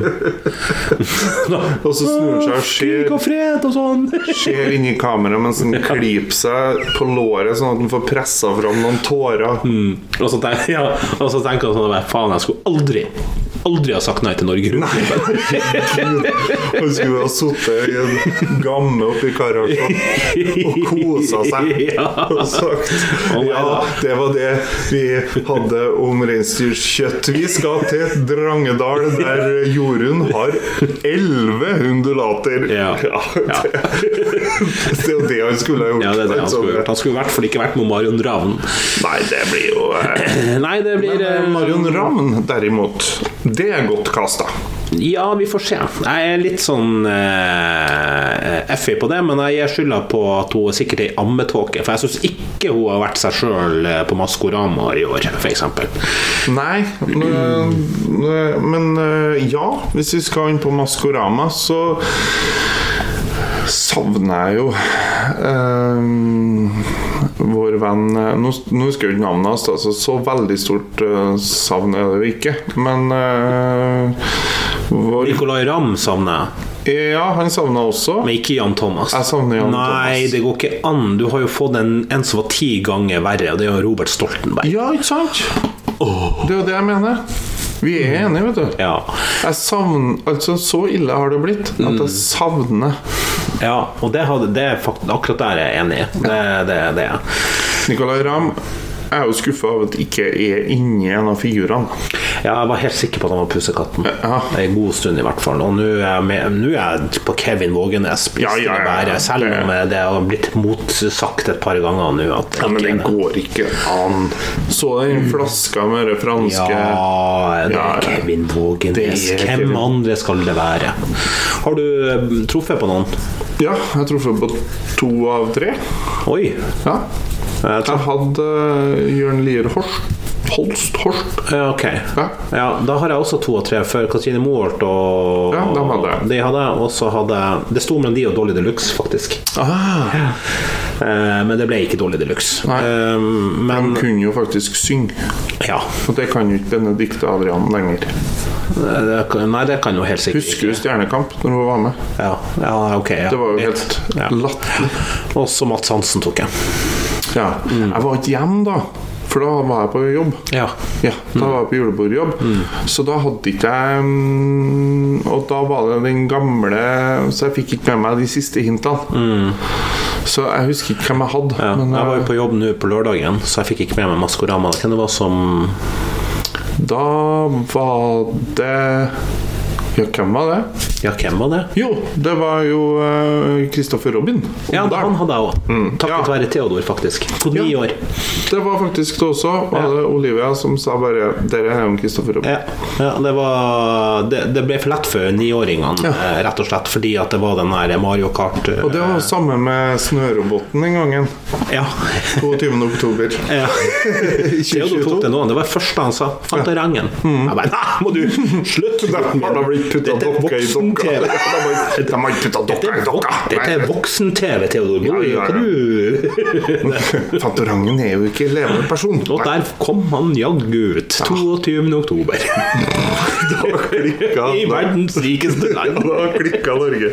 [SPEAKER 2] Og så snur han seg og ser
[SPEAKER 1] Krig og fred og sånn.
[SPEAKER 2] skjer inni kameraet mens han klyper seg på låret, sånn at han får pressa fram noen tårer.
[SPEAKER 1] Og så tenker, ja, og så tenker jeg sånn "Nei, Faen, jeg skulle aldri Aldri ha sagt nei til Norge Rundt.
[SPEAKER 2] Han skulle ha sittet i en gamme oppi Karasjok og kosa seg
[SPEAKER 1] Ja. Oh
[SPEAKER 2] og sagt
[SPEAKER 1] Å, nei
[SPEAKER 2] Ja,
[SPEAKER 1] da.
[SPEAKER 2] det var det vi hadde om reinsdyrkjøtt. Vi skal til Drangedal, der Jorunn har elleve undulater.
[SPEAKER 1] Ja.
[SPEAKER 2] det, det er jo det han skulle ha gjort.
[SPEAKER 1] Ja, det er det han skulle gjort. Han skulle i hvert fall ikke vært med Marion Ravn.
[SPEAKER 2] Nei, det blir jo eh.
[SPEAKER 1] Nei, det blir
[SPEAKER 2] Men eh,
[SPEAKER 1] eh,
[SPEAKER 2] Marion Ravn, derimot, det er godt kasta.
[SPEAKER 1] Ja, vi får se. Jeg er litt sånn eh, effig på det, men jeg gir skylda på at hun er sikkert ei ammetåke. For jeg syns ikke hun har vært seg sjøl på Maskorama i år, f.eks.
[SPEAKER 2] Nei, men, men eh, ja, hvis vi skal inn på Maskorama, så savner jeg jo eh, vår venn eh, Nå, nå husker jeg jo ikke navnet hans, altså, så veldig stort eh, savn er det jo ikke. Men eh, vår,
[SPEAKER 1] Nicolay Ramm savner jeg,
[SPEAKER 2] Ja, han savna også.
[SPEAKER 1] men ikke Jan Thomas.
[SPEAKER 2] Jeg savner Jan
[SPEAKER 1] Nei,
[SPEAKER 2] Thomas.
[SPEAKER 1] det går ikke an. Du har jo fått en, en som var ti ganger verre, og det er jo Robert Stoltenberg.
[SPEAKER 2] Ja, ikke sant? Det er jo det jeg mener. Vi er enige, vet du.
[SPEAKER 1] Ja.
[SPEAKER 2] Jeg savner, altså Så ille har det blitt at jeg savner
[SPEAKER 1] ja og det, hadde, det er fakt akkurat der er jeg enig i. Det, det, det er jeg.
[SPEAKER 2] Nicolay Ramm. Jeg er jo skuffa over at det ikke er inni en av figurene.
[SPEAKER 1] Ja, jeg var helt sikker på at han var pussekatten.
[SPEAKER 2] Ja.
[SPEAKER 1] En god stund, i hvert fall. Og nå er jeg, med, nå er jeg på Kevin Vågenes.
[SPEAKER 2] Ja, ja, ja, ja.
[SPEAKER 1] Bare, selv
[SPEAKER 2] Det-
[SPEAKER 1] om det har blitt motsagt et par ganger nå. At
[SPEAKER 2] Ja, men
[SPEAKER 1] ikke
[SPEAKER 2] den
[SPEAKER 1] er-
[SPEAKER 2] går ikke an. Så den flaska med det franske
[SPEAKER 1] Ja, det
[SPEAKER 2] Mm. Ja,
[SPEAKER 1] er
[SPEAKER 2] ja.
[SPEAKER 1] Kevin Vågenes.
[SPEAKER 2] Det er
[SPEAKER 1] Hvem
[SPEAKER 2] Kevin.
[SPEAKER 1] andre skal det være? Har du eh, truffet på noen?
[SPEAKER 2] Ja, jeg tror på to av tre.
[SPEAKER 1] Oi.
[SPEAKER 2] Ja.
[SPEAKER 1] Jeg
[SPEAKER 2] Jeg hadde eh, Jørn Lier Horst. Holst Horst.
[SPEAKER 1] Ja, Ok.
[SPEAKER 2] Ja.
[SPEAKER 1] Ja, da har jeg også to og tre før Katrine Moholt og
[SPEAKER 2] Ja, dem hadde jeg.
[SPEAKER 1] De hadde jeg. Og så hadde jeg Det sto mellom de og Dolly de Luxe, faktisk.
[SPEAKER 2] Ah,
[SPEAKER 1] Eh, men det ble ikke Dolly de Luxe.
[SPEAKER 2] Nei.
[SPEAKER 1] Eh, men
[SPEAKER 2] han kunne jo faktisk synge,
[SPEAKER 1] ja.
[SPEAKER 2] og det kan jo ikke Benedicte Adrian lenger.
[SPEAKER 1] Det, kan- nei, det kan jo helt sikkert
[SPEAKER 2] Husker du Stjernekamp, når hun var med?
[SPEAKER 1] Ja, ja ok. Ja.
[SPEAKER 2] Det var jo helt
[SPEAKER 1] Ja.
[SPEAKER 2] latterlig.
[SPEAKER 1] Også Mats Hansen tok jeg.
[SPEAKER 2] Ja. Jeg var ikke hjemme da, for da var jeg på jobb.
[SPEAKER 1] Ja.
[SPEAKER 2] Ja, da var jeg på julebordjobb. Så da hadde ikke jeg mm, Og da var det den gamle Så jeg fikk ikke med meg de siste hintene. Så jeg husker ikke hvem jeg hadde.
[SPEAKER 1] Ja,
[SPEAKER 2] Men
[SPEAKER 1] jeg var jo
[SPEAKER 2] eh,
[SPEAKER 1] på jobb nå på lørdagen, så jeg fikk ikke med meg Maskorama. Hvem det var som
[SPEAKER 2] da var det Ja, hvem var det?
[SPEAKER 1] Ja, hvem var det?
[SPEAKER 2] Jo, det var jo Kristoffer Robin.
[SPEAKER 1] Ja,
[SPEAKER 2] Omdal.
[SPEAKER 1] han hadde jeg òg.
[SPEAKER 2] Mm. Ja.
[SPEAKER 1] Takket være Theodor, faktisk. På ni
[SPEAKER 2] Ja.
[SPEAKER 1] år.
[SPEAKER 2] Det var faktisk det også. Var det Olivia som sa bare 'Dere er jo Kristoffer Robin'.
[SPEAKER 1] Ja, ja det, var, det, det ble for lett for niåringene, eh, rett og slett, fordi at det var den der Mario Kart eh,
[SPEAKER 2] Og det var jo samme med Snøroboten den gangen.
[SPEAKER 1] Ja.
[SPEAKER 2] 22. oktober.
[SPEAKER 1] ja. Theodor tok det nå. Det var det første han sa. Fantorangen. Jeg bare Nei, må du Slutt!
[SPEAKER 2] Der Mm. har da blitt putta
[SPEAKER 1] Dette er
[SPEAKER 2] dokka i dokka.
[SPEAKER 1] voksen-TV.
[SPEAKER 2] De har- De har ikke putta dokka i dokka.
[SPEAKER 1] Dette er voksen-TV, Theodor. Må
[SPEAKER 2] Ja, ja, ja.
[SPEAKER 1] du-
[SPEAKER 2] Nei, Fantorangen er jo ikke en levende person.
[SPEAKER 1] Og der kom han jaggu ut. 22. oktober.
[SPEAKER 2] klikket
[SPEAKER 1] I
[SPEAKER 2] det.
[SPEAKER 1] verdens rikeste
[SPEAKER 2] Ja,
[SPEAKER 1] land.
[SPEAKER 2] da klikka Norge.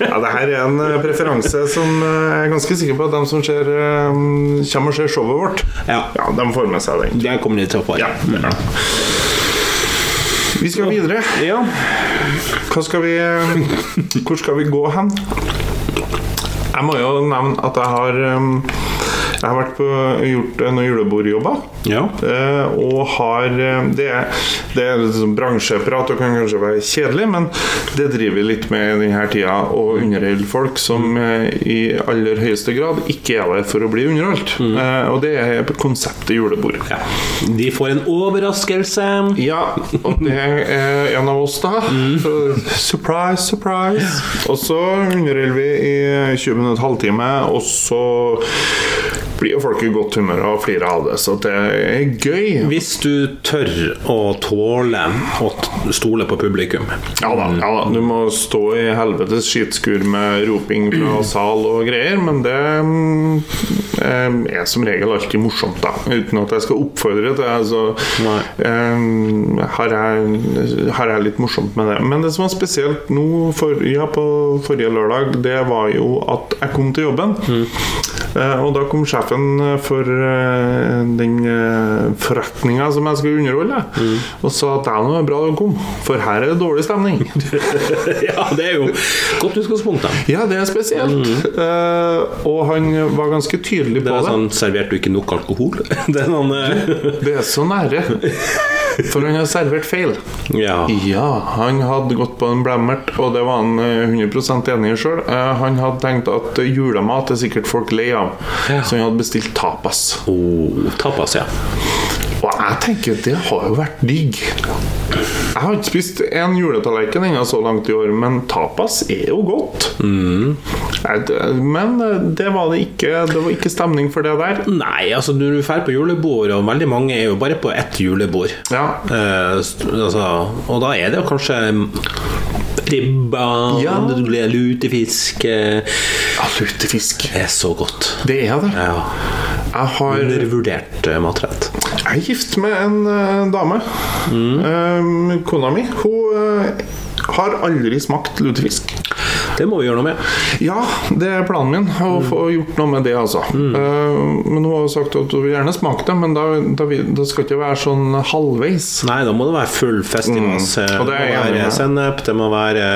[SPEAKER 2] Ja, det her er en eh, preferanse som eh, jeg er ganske sikker på at de som ser, eh, kommer og ser showet vårt,
[SPEAKER 1] Ja.
[SPEAKER 2] Ja, de får med seg den.
[SPEAKER 1] Det kommer de til å få.
[SPEAKER 2] Ja. Vi skal videre.
[SPEAKER 1] Ja.
[SPEAKER 2] Hva skal vi, eh, hvor skal vi gå hen? Jeg må jo nevne at jeg har, eh, jeg har vært på, gjort eh, noen julebordjobber.
[SPEAKER 1] Ja.
[SPEAKER 2] Eh, og har eh, Det, er- det er litt sånn bransjeprat og kan kanskje være kjedelig, men det driver vi litt med i denne tida. Å underholde folk som eh, i aller høyeste grad ikke er der for å bli underholdt. Eh, og det er konseptet julebord.
[SPEAKER 1] ja. De får en overraskelse.
[SPEAKER 2] Ja, og det er en av oss, da. Så, Mm. Surprise, surprise. Og så underholder vi i 20 minutter, halvtime, og så blir jo folk i godt humør og flirer av det. Så det er gøy.
[SPEAKER 1] Hvis du tør å tåle å t- stole på publikum.
[SPEAKER 2] Ja da, ja da. Du må stå i helvetes skitskur med roping fra sal og greier, men det mm, eh, er som regel alltid morsomt, da. Uten at jeg skal oppfordre til det. Så
[SPEAKER 1] Nei.
[SPEAKER 2] eh, har, jeg, har jeg litt morsomt med det. Men det som var spesielt nå for, ja, på forrige lørdag, det var jo at jeg kom til jobben. Eh, og da kom sjefen eh, for eh, den eh, forretninga som jeg skulle underholde,
[SPEAKER 1] Mm.
[SPEAKER 2] og sa at det er bra du kom, for her er det dårlig stemning.
[SPEAKER 1] Ja, det er jo godt utgangspunkt, da.
[SPEAKER 2] ja, det er spesielt. Eh, og han var ganske tydelig
[SPEAKER 1] Mm. Det
[SPEAKER 2] på
[SPEAKER 1] er
[SPEAKER 2] det.
[SPEAKER 1] sånn Serverte du ikke nok alkohol? Det er noen, eh,
[SPEAKER 2] Det er så nære. For han har servert feil.
[SPEAKER 1] ja.
[SPEAKER 2] Ja, han hadde gått på en blemmert, og det var han eh, 100 enig i sjøl. Han hadde tenkt at eh, julemat er sikkert folk lei av,
[SPEAKER 1] Ja.
[SPEAKER 2] så han hadde bestilt tapas.
[SPEAKER 1] Oh, tapas, ja.
[SPEAKER 2] Og jeg tenker, det har jo vært digg. Jeg har ikke spist en juletallerken ennå så langt i år, men tapas er jo godt. Mm. Nei, det- Men det var det ikke. Det var ikke stemning for det der.
[SPEAKER 1] Nei, altså når du drar på julebord, og veldig mange er jo bare på ett julebord
[SPEAKER 2] Ja.
[SPEAKER 1] eh, st- altså, Og da er det jo kanskje ribba,
[SPEAKER 2] Ja.
[SPEAKER 1] lutefisk eh,
[SPEAKER 2] Ja, Lutefisk.
[SPEAKER 1] Det er så godt.
[SPEAKER 2] Det er det.
[SPEAKER 1] Ja.
[SPEAKER 2] Jeg har
[SPEAKER 1] Undervurdert eh, matrett.
[SPEAKER 2] Jeg er gift med en eh, dame. Mm. Ehm, Eh, kona mi. Hun eh, har aldri smakt lutefisk.
[SPEAKER 1] Det må vi gjøre noe med.
[SPEAKER 2] Ja, det er planen min. Å få gjort noe med det, altså. Eh, men hun har jo sagt at hun vil gjerne smake det, men da, da, vil- da skal det ikke være sånn halvveis.
[SPEAKER 1] Nei, da må det være full festivals.
[SPEAKER 2] Mm.
[SPEAKER 1] Det,
[SPEAKER 2] Og det
[SPEAKER 1] må
[SPEAKER 2] er jeg enig
[SPEAKER 1] være
[SPEAKER 2] med.
[SPEAKER 1] sennep, det må være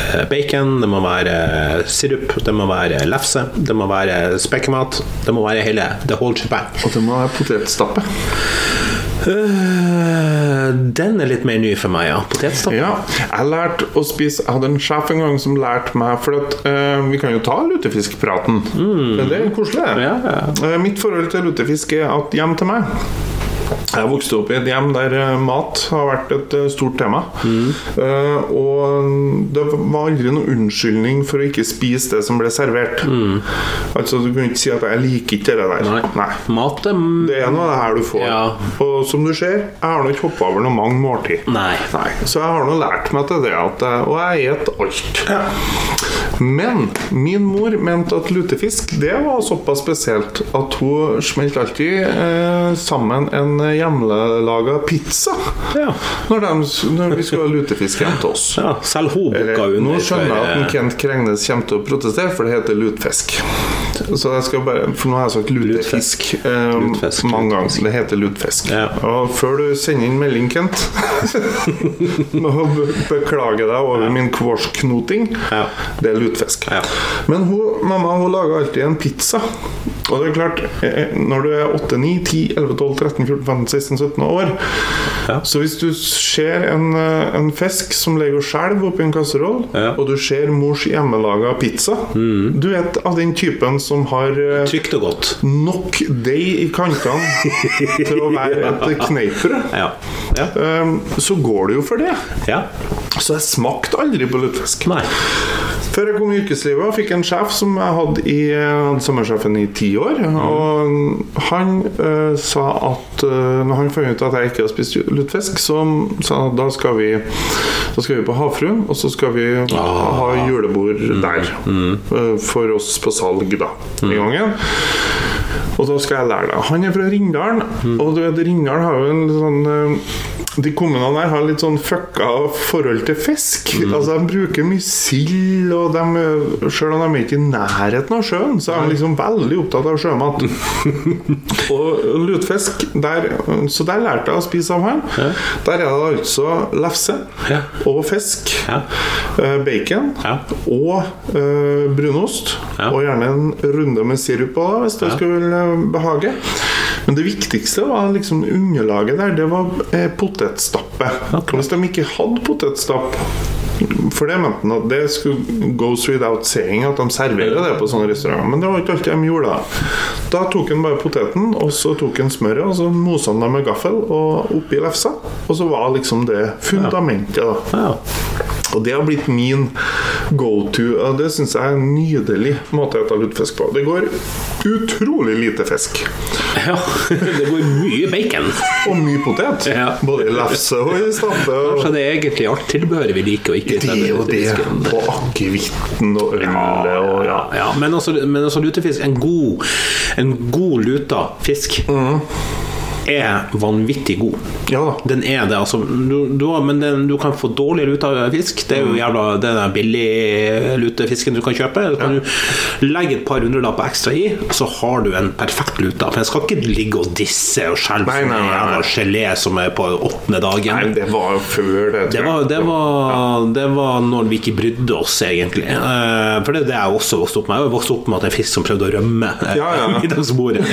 [SPEAKER 1] eh, bacon, det må være eh, sirup, det må være lefse, det må være spekkemat. Det må være hele the whole shebang.
[SPEAKER 2] Og det må være potetstappe.
[SPEAKER 1] Øh, den er litt mer ny for meg, ja. Potetstappe.
[SPEAKER 2] Ja, jeg lærte å spise Jeg hadde en sjef en gang som lærte meg For at, eh, vi kan jo ta lutefiskpraten. Det er koselig. det.
[SPEAKER 1] Ja, ja.
[SPEAKER 2] Eh, mitt forhold til lutefisk er at hjem til meg jeg vokste opp i et hjem der eh, mat har vært et eh, stort tema. Eh, og det var aldri noen unnskyldning for å ikke spise det som ble servert. Altså Du kunne ikke si at 'jeg liker ikke det der'.
[SPEAKER 1] Nei.
[SPEAKER 2] Nei.
[SPEAKER 1] Mat eh, er m-
[SPEAKER 2] Det er noe av det her du får.
[SPEAKER 1] Ja.
[SPEAKER 2] Og som du ser, jeg har nå ikke hoppa over noe mange måltid.
[SPEAKER 1] Nei.
[SPEAKER 2] Nei, så jeg har nå lært meg til det at jeg, Og jeg et alt Men min mor mente at lutefisk Det var såpass spesielt At hun smelte alltid eh, sammen En hjemmelaget pizza
[SPEAKER 1] Ja.
[SPEAKER 2] når, dem s- når vi skulle ha lutefisk hjem til oss
[SPEAKER 1] ja. Selv hun booka
[SPEAKER 2] Eller,
[SPEAKER 1] under.
[SPEAKER 2] Nå skjønner jeg at
[SPEAKER 1] for, eh,
[SPEAKER 2] den Kent Krengnes kommer til å protestere, for det heter lutfisk. Så jeg skal bare, for nå har jeg sagt lutefisk eh,
[SPEAKER 1] Lutfisk,
[SPEAKER 2] mange ganger. så Det heter lutfisk.
[SPEAKER 1] Ja.
[SPEAKER 2] Og før du sender inn melding, Kent Nå be- beklager jeg deg over min kvorsknoting.
[SPEAKER 1] Ja.
[SPEAKER 2] Det er lutfisk.
[SPEAKER 1] Ja.
[SPEAKER 2] Men hun, mamma hun lager alltid en pizza. Og det er klart, eh, når du er 8, 9, 10, 11, 12, 13, 14, 15, 16, 17 år
[SPEAKER 1] Ja.
[SPEAKER 2] Så hvis du ser en, eh, en fisk som ligger og skjelver oppi en kasseroll,
[SPEAKER 1] Ja. Mm.
[SPEAKER 2] og du ser mors hjemmelaga pizza Du vet av den typen som har eh,
[SPEAKER 1] eh, Trygt og godt.
[SPEAKER 2] nok deig i kantene til å være et kneippbrød,
[SPEAKER 1] Ja. Ja.
[SPEAKER 2] eh, så går det jo for det.
[SPEAKER 1] ja.
[SPEAKER 2] Så jeg smakte aldri på lutefisk.
[SPEAKER 1] Nei.
[SPEAKER 2] Før jeg kom i yrkeslivet og fikk en sjef som jeg hadde i jeg hadde sommersjefen i ti år. Og han eh, sa at eh, Når han fant ut at jeg ikke hadde spist lutefisk, så sa han at da skal vi Da skal vi på Havfruen, og så skal vi ha julebord der. eh, for oss på salg, da. I gangen. Og da skal jeg lære deg. Han er fra Rindalen,
[SPEAKER 1] Mm.
[SPEAKER 2] og du vet, Rindalen har jo en litt sånn eh, De kommunene der har litt sånn fucka forhold til fisk.
[SPEAKER 1] Mm.
[SPEAKER 2] Altså, de bruker mye sild, og de, eh, selv om de er ikke i nærheten av sjøen, så er de liksom veldig opptatt av sjømat. og lutfisk der, Så der lærte jeg å spise av han. Der er det altså lefse
[SPEAKER 1] Ja.
[SPEAKER 2] og fisk,
[SPEAKER 1] Ja.
[SPEAKER 2] eh, bacon
[SPEAKER 1] Ja.
[SPEAKER 2] og eh, brunost.
[SPEAKER 1] Ja.
[SPEAKER 2] Og gjerne en runde med sirup på, da, hvis det skulle eh, behage. Men det viktigste var liksom underlaget der. Det var eh, potetstappe.
[SPEAKER 1] Ok.
[SPEAKER 2] Hvis de ikke hadde potetstapp for det mente han at det skulle goes without saying at de serverer det på sånne restauranter. Men det var ikke alltid de gjorde det. Da tok han bare poteten, og så tok han smøret, og så mosa han det med gaffel og oppi lefsa. Og så var liksom det fundamentet, da.
[SPEAKER 1] Ja.
[SPEAKER 2] Og det har blitt min go to. Og det syns jeg er en nydelig måte å spise lutefisk på. Det går utrolig lite fisk.
[SPEAKER 1] ja. Det går mye bacon.
[SPEAKER 2] Og mye potet.
[SPEAKER 1] Ja.
[SPEAKER 2] Både i lefse og i stabbe. Og
[SPEAKER 1] Så det er egentlig alt tilbehøret vi liker og ikke
[SPEAKER 2] det og det. Og akevitten og ølet og ja.
[SPEAKER 1] Ja, men altså, men altså lutefisk En god, en god luta fisk
[SPEAKER 2] Mm.
[SPEAKER 1] er vanvittig god.
[SPEAKER 2] Ja da.
[SPEAKER 1] Den er det, altså. Du, du, har- men den, du kan få dårlig lute av fisk. Det er
[SPEAKER 2] Mm.
[SPEAKER 1] jo jævla den der billig lutefisken du kan kjøpe. Så kan du legge et par hundrelapper ekstra i, så har du en perfekt lute. For den skal ikke ligge og disse og skjelve
[SPEAKER 2] Nei,
[SPEAKER 1] som
[SPEAKER 2] nei,
[SPEAKER 1] en
[SPEAKER 2] nei,
[SPEAKER 1] jævla gelé som er på åttende dagen.
[SPEAKER 2] Nei, det var jo før det. tror
[SPEAKER 1] Det
[SPEAKER 2] jeg.
[SPEAKER 1] var, det, var, det var når vi ikke brydde oss, egentlig. Eh, for det er det jeg også vokste opp med. Jeg vokste opp med at en fisk som prøvde å rømme eh,
[SPEAKER 2] Ja, ja.
[SPEAKER 1] middagsbordet.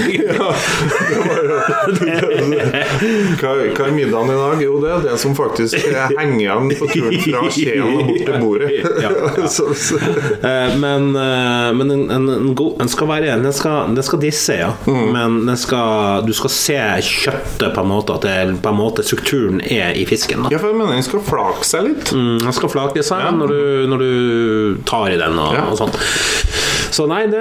[SPEAKER 2] Hva, hva er middagen i dag? Jo, det er det som faktisk eh, henger igjen på turen fra Skien og bort til bordet.
[SPEAKER 1] Ja, ja.
[SPEAKER 2] så, så.
[SPEAKER 1] Eh, men eh, men en, en, en god Den skal være Den skal, den skal disse, ja.
[SPEAKER 2] Mm.
[SPEAKER 1] Men den skal, du skal se kjøttet på en måte, at det, på en måte strukturen er i fisken. Da.
[SPEAKER 2] Ja, for jeg mener den skal flake seg litt.
[SPEAKER 1] Mm, Den skal flake seg når, du, når du tar i den og,
[SPEAKER 2] Ja.
[SPEAKER 1] og sånn. Så nei, det,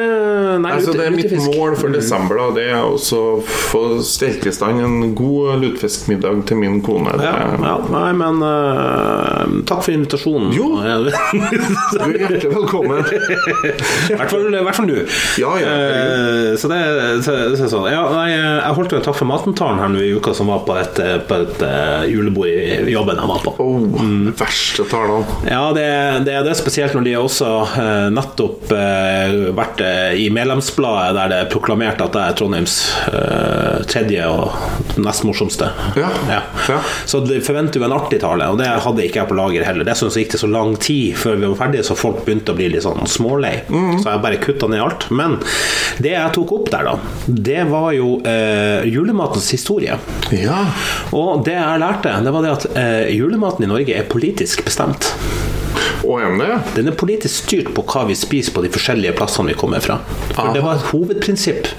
[SPEAKER 1] nei
[SPEAKER 2] Altså,
[SPEAKER 1] lute-
[SPEAKER 2] det er mitt
[SPEAKER 1] lutefisk.
[SPEAKER 2] mål for desember, da. Det er også å få stelt i stand en god lutefiskmiddag til min kone. Det-
[SPEAKER 1] Ja, ja, nei, men eh, takk for invitasjonen.
[SPEAKER 2] Jo.
[SPEAKER 1] I
[SPEAKER 2] Du er hjertelig velkommen.
[SPEAKER 1] hvert fall- i hvert fall du.
[SPEAKER 2] Ja, ja,
[SPEAKER 1] Eh, så det, så, så, er sånn. ja, nei, jeg holdt jo en takk for maten-talen her nå i uka som var på et, eh, på et eh, julebord i jobben jeg var på.
[SPEAKER 2] Åh, verste talene.
[SPEAKER 1] Ja, det, det er det, spesielt når de har også eh, nettopp eh, vært eh, i medlemsbladet der det er proklamert at det er Trondheims eh, tredje og nest morsomste.
[SPEAKER 2] Ja. Ja.
[SPEAKER 1] Så de forventer jo en artig tale, og det hadde ikke jeg på lager heller. Dessuten så gikk det så lang tid før vi var ferdige, så folk begynte å bli litt sånn smålei. Så jeg bare kutta ned alt. Men det jeg tok opp der, da, det var jo eh, julematens historie.
[SPEAKER 2] Ja.
[SPEAKER 1] Og det jeg lærte, det var det at eh, julematen i Norge er politisk bestemt.
[SPEAKER 2] Og en det, ja.
[SPEAKER 1] Den er politisk styrt på hva vi spiser på de forskjellige plassene vi kommer fra. For det var et hovedprinsipp.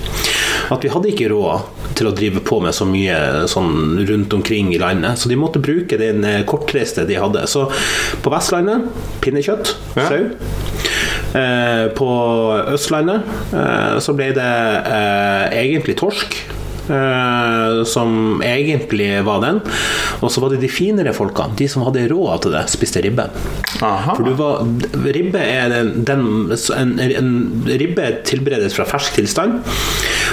[SPEAKER 1] At vi hadde ikke råd til å drive på med så mye sånn rundt omkring i landet, så de måtte bruke den eh, kortreiste de hadde. Så på Vestlandet pinnekjøtt,
[SPEAKER 2] Ja.
[SPEAKER 1] sau. Eh, på Østlandet eh, så ble det eh, egentlig torsk. eh, som egentlig var den. Og så var det de finere folka, de som hadde råd til det, spiste ribbe.
[SPEAKER 2] Aha.
[SPEAKER 1] For du var, ribbe er den, den en, en ribbe tilberedes fra fersk tilstand.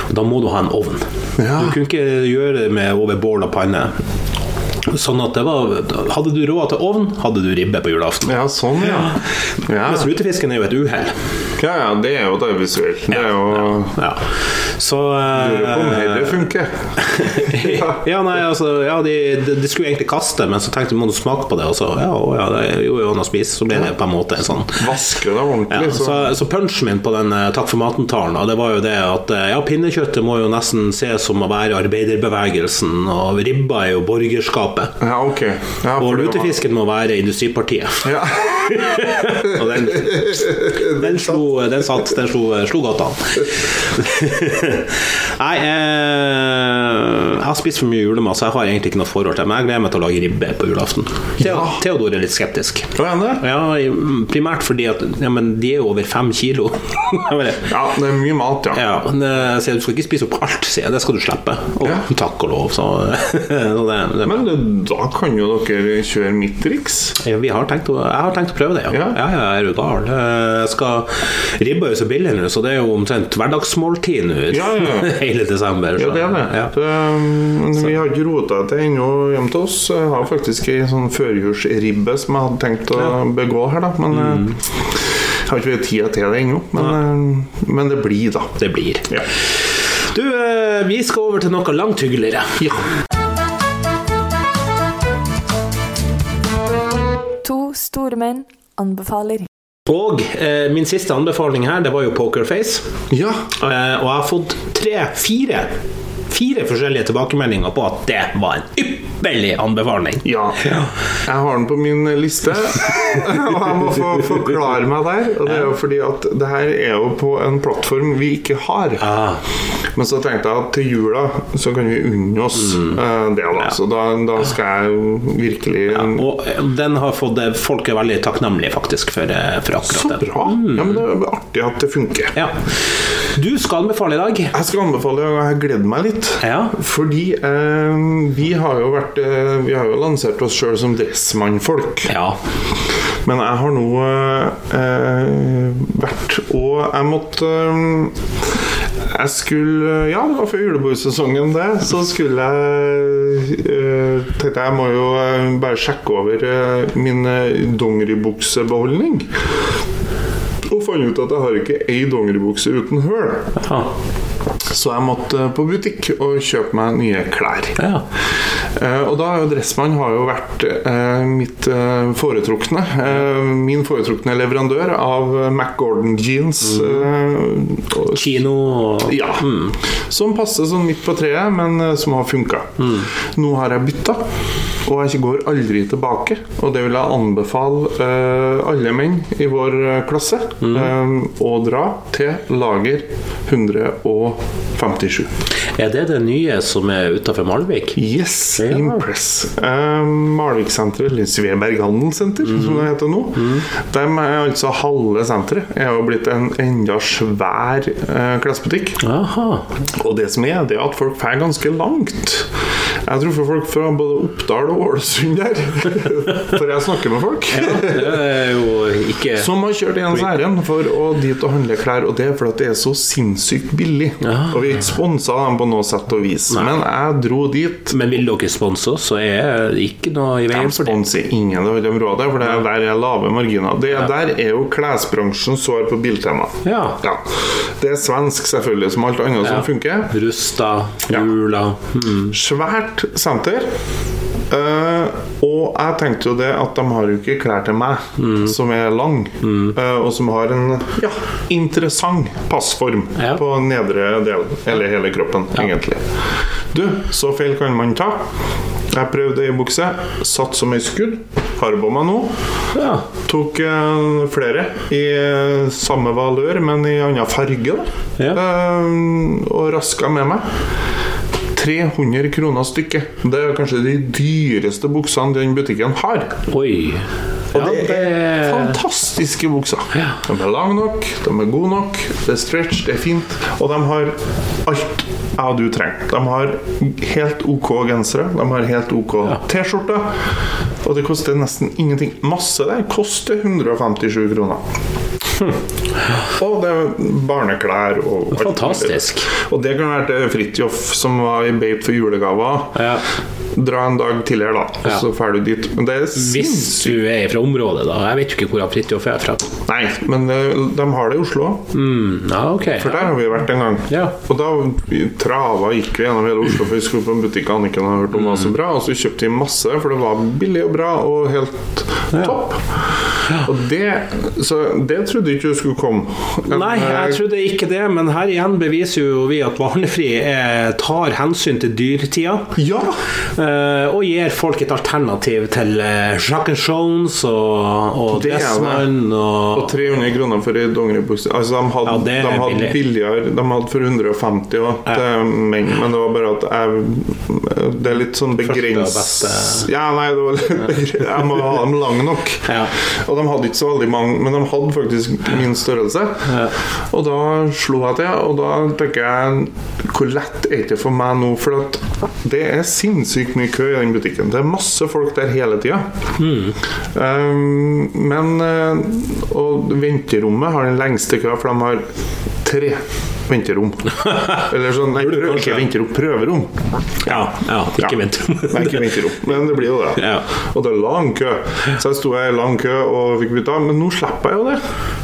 [SPEAKER 1] Og da må du ha en ovn.
[SPEAKER 2] Ja.
[SPEAKER 1] Du kunne ikke gjøre det med over bål og panne. Sånn at det var Hadde du råd til ovn, hadde du ribbe på julaften.
[SPEAKER 2] Ja, sånn, ja. Ja,
[SPEAKER 1] Mens lutefisken er jo et uhell.
[SPEAKER 2] ja, ja det er jo det visuelt. Det er jo
[SPEAKER 1] Ja. Så
[SPEAKER 2] Lurer på om dette funker.
[SPEAKER 1] ja, nei, altså, ja de, de, de skulle egentlig kaste, men så tenkte de må du smake på det, og så ja, å, ja, det er jo an å spise. Så ble det på en måte en sånn
[SPEAKER 2] Vaske det ordentlig,
[SPEAKER 1] Ja,
[SPEAKER 2] så
[SPEAKER 1] så, så punchen min på den eh, takk for maten-talen, da, det var jo det at eh, ja, pinnekjøttet må jo nesten ses som å være arbeiderbevegelsen, og ribba er jo borgerskapet.
[SPEAKER 2] Ja, ok. Ja,
[SPEAKER 1] Og
[SPEAKER 2] for det var-
[SPEAKER 1] lutefisken må være industripartiet.
[SPEAKER 2] Ja.
[SPEAKER 1] Og den, den, slo, den satt, den slo, eh, slo godt an. Nei, eh, jeg har spist for mye julemat, så jeg har egentlig ikke noe forhold til det. Men jeg gleder meg til å lage ribbe på julaften. Theo-
[SPEAKER 2] Ja.
[SPEAKER 1] Theodor er litt skeptisk.
[SPEAKER 2] Hva er det?
[SPEAKER 1] Ja, primært fordi at ja, men de er jo over fem kilo. Jeg bare,
[SPEAKER 2] Ja, det er mye mat, ja.
[SPEAKER 1] Ja, men eh, jeg sier, du skal ikke spise opp alt, sier jeg. Det skal du slippe. Og
[SPEAKER 2] Ja.
[SPEAKER 1] takk og lov, så, så det, det
[SPEAKER 2] Men det- da kan jo dere kjøre mitt triks.
[SPEAKER 1] ja, vi har tenkt å, Jeg har tenkt å prøve det, ja.
[SPEAKER 2] Ja.
[SPEAKER 1] ja, ja er du gal? Eh, Jeg skal Ribba er jo så billig nå, så det er jo omtrent hverdagsmåltid nå
[SPEAKER 2] Ja, ja, ja.
[SPEAKER 1] hele desember.
[SPEAKER 2] Ja,
[SPEAKER 1] så-
[SPEAKER 2] det er det.
[SPEAKER 1] Ja.
[SPEAKER 2] det men vi har ikke rota det til ennå hjemme til oss. Jeg har faktisk ei sånn førjulsribbe som jeg hadde tenkt å begå her, da. Men eh, jeg har ikke tida til det ennå. Men, eh, men det blir, da.
[SPEAKER 1] Det blir.
[SPEAKER 2] Ja.
[SPEAKER 1] Du, eh, vi skal over til noe langt hyggeligere.
[SPEAKER 3] To store menn anbefaler.
[SPEAKER 1] Og eh, min siste anbefaling her, det var jo Pokerface.
[SPEAKER 2] ja.
[SPEAKER 1] Eh, Og jeg har fått tre, fire Fire forskjellige tilbakemeldinger på at det var en ypperlig anbefaling.
[SPEAKER 2] Ja. Jeg har den på min liste, og jeg må få forklare meg der. Og det er jo fordi at det her er jo på en plattform vi ikke har.
[SPEAKER 1] Ah,
[SPEAKER 2] Men så tenkte jeg at til jula så kan vi unne oss
[SPEAKER 1] Mm.
[SPEAKER 2] eh, det, da. Så da, da skal jeg virkelig
[SPEAKER 1] og eh, den har fått eh, Folk er veldig takknemlige faktisk for, eh, for
[SPEAKER 2] Så
[SPEAKER 1] akkurat det.
[SPEAKER 2] bra! Ja, men Det er artig at det funker.
[SPEAKER 1] Mm. Ja. Du skal anbefale i dag.
[SPEAKER 2] Jeg skal anbefale, og jeg gleder meg litt.
[SPEAKER 1] Ja.
[SPEAKER 2] Fordi eh, vi har jo vært eh, Vi har jo lansert oss sjøl som dressmannfolk.
[SPEAKER 1] Ja.
[SPEAKER 2] Men jeg har nå eh, eh, vært Og jeg måtte eh, Jeg skulle Ja, det var før julebordsesongen, det. Så skulle jeg eh, Tenkte jeg må jo eh, bare sjekke over eh, min eh, dongeribuksebeholdning. Og fant ut at jeg har ikke ei dongeribukse uten høl.
[SPEAKER 1] Ah,
[SPEAKER 2] Så jeg måtte på butikk og kjøpe meg nye klær.
[SPEAKER 1] ja.
[SPEAKER 2] Eh, og da har jo Dressmann har jo vært eh, mitt eh, foretrukne eh, Min foretrukne leverandør av eh, Mac Gordon jeans. Eh, og,
[SPEAKER 1] Kino og
[SPEAKER 2] ja. Som passer sånn midt på treet, men eh, som har funka. Nå har jeg bytta, og jeg går aldri tilbake. Og det vil jeg anbefale eh, alle menn i vår eh, klasse eh, å dra til lager 157.
[SPEAKER 1] Er det det nye som er utafor Malvik?
[SPEAKER 2] Yes! Impress. Eh, Malvik-senteret, eller Sveberg Handelssenter, som det heter nå, de er altså halve senteret. Er jo blitt en enda svær eh, klesbutikk.
[SPEAKER 1] Aha.
[SPEAKER 2] Og det som er, det er at folk drar ganske langt. Jeg tror for folk fra både Oppdal og Ålesund der For jeg snakker med folk.
[SPEAKER 1] Det er jo ikke
[SPEAKER 2] Som har kjørt ens ærend for å dit og handle klær, og det er fordi at det er så sinnssykt billig.
[SPEAKER 1] Ja.
[SPEAKER 2] Og vi er ikke sponsa dem på noe sett og vis, men jeg dro dit.
[SPEAKER 1] Men vil dere sponse oss, så er det ikke noe i
[SPEAKER 2] De
[SPEAKER 1] veien for det.
[SPEAKER 2] sponser ingen av de rådene, for det er der er lave marginer. Det der er jo klesbransjen sår på Biltema.
[SPEAKER 1] Ja.
[SPEAKER 2] Ja. Det er svensk, selvfølgelig, som alt annet som funker.
[SPEAKER 1] Rusta,
[SPEAKER 2] Ja.
[SPEAKER 1] Jula mm.
[SPEAKER 2] Svært senter. Eh, og jeg tenkte jo det at de har jo ikke klær til meg,
[SPEAKER 1] Mm.
[SPEAKER 2] som er lang, eh, og som har en ja, interessant passform
[SPEAKER 1] Ja.
[SPEAKER 2] på nedre del, eller hele kroppen, egentlig. Du, så feil kan man ta. Jeg prøvde ei bukse, satt som ei skudd. Har på meg nå.
[SPEAKER 1] Ja.
[SPEAKER 2] Tok eh, flere i eh, samme valør, men i annen farge, da.
[SPEAKER 1] Ja.
[SPEAKER 2] Eh, og raska med meg. 300 kroner stykket. Det er kanskje de dyreste buksene den butikken har.
[SPEAKER 1] Oi.
[SPEAKER 2] Og
[SPEAKER 1] Ja,
[SPEAKER 2] det er fantastiske bukser.
[SPEAKER 1] Ja.
[SPEAKER 2] De er lange nok, de er gode nok, det er stretch, det er fint. Og de har alt jeg og du trenger. De har helt OK gensere, de har helt OK T-skjorter. Og det koster nesten ingenting. Masse der koster 157 kroner. Og det er barneklær og alt mulig.
[SPEAKER 1] Fantastisk.
[SPEAKER 2] Og det kan være til Fridtjof, som var i beit for julegaver.
[SPEAKER 1] Ja.
[SPEAKER 2] Dra en dag tidligere, da, og
[SPEAKER 1] Ja.
[SPEAKER 2] så drar du dit. Men det er
[SPEAKER 1] Hvis
[SPEAKER 2] sinnssykt
[SPEAKER 1] du er fra området, da. Jeg vet jo ikke hvor Fridtjof er fra.
[SPEAKER 2] Nei, men eh, de har det i Oslo òg.
[SPEAKER 1] Mm. Ja, ok.
[SPEAKER 2] For der har vi vært en gang.
[SPEAKER 1] Ja.
[SPEAKER 2] Og da vi trava gikk vi gjennom hele Oslo, for vi skulle på en butikk Anniken har hørt om var så
[SPEAKER 1] Mm.
[SPEAKER 2] bra. Og så kjøpte vi masse, for det var billig og bra og helt topp. Og det, så det trodde jeg ikke du skulle komme. Men,
[SPEAKER 1] Nei,
[SPEAKER 2] eh,
[SPEAKER 1] jeg trodde ikke det, men her igjen beviser jo vi at barnefri er, tar hensyn til dyrtida.
[SPEAKER 2] Ja!
[SPEAKER 1] eh, og gir folk et alternativ til uh, Jack and Jones og, og
[SPEAKER 2] Det er det.
[SPEAKER 1] Dressmann
[SPEAKER 2] Og
[SPEAKER 1] og
[SPEAKER 2] 300 kroner for ei dongeribukse. Altså, de hadde,
[SPEAKER 1] Ja, det er
[SPEAKER 2] de hadde
[SPEAKER 1] billig.
[SPEAKER 2] billigere De hadde for 150 og til menn, men det var bare at jeg Det er litt sånn begrens...
[SPEAKER 1] beste.
[SPEAKER 2] Ja, nei, det var litt Jeg må ha dem lang nok.
[SPEAKER 1] Ja.
[SPEAKER 2] Og de hadde ikke så veldig mange, men de hadde faktisk min størrelse. Og da slo jeg til, og da tenker jeg Hvor lett er det for meg nå? For at det er sinnssykt mye kø i den butikken. Det er masse folk der hele tida. Um, men eh, Og venterommet har den lengste køa, for de har tre venterom. Eller sånn, nei, prøv, ikke venterom, prøverom.
[SPEAKER 1] Ja, ja, ikke
[SPEAKER 2] Ja.
[SPEAKER 1] vent.
[SPEAKER 2] Nei, ikke venterom, men det blir jo det.
[SPEAKER 1] Ja.
[SPEAKER 2] Og det er lang kø. Så jeg sto her i lang kø og fikk bytta, men nå slipper jeg jo det.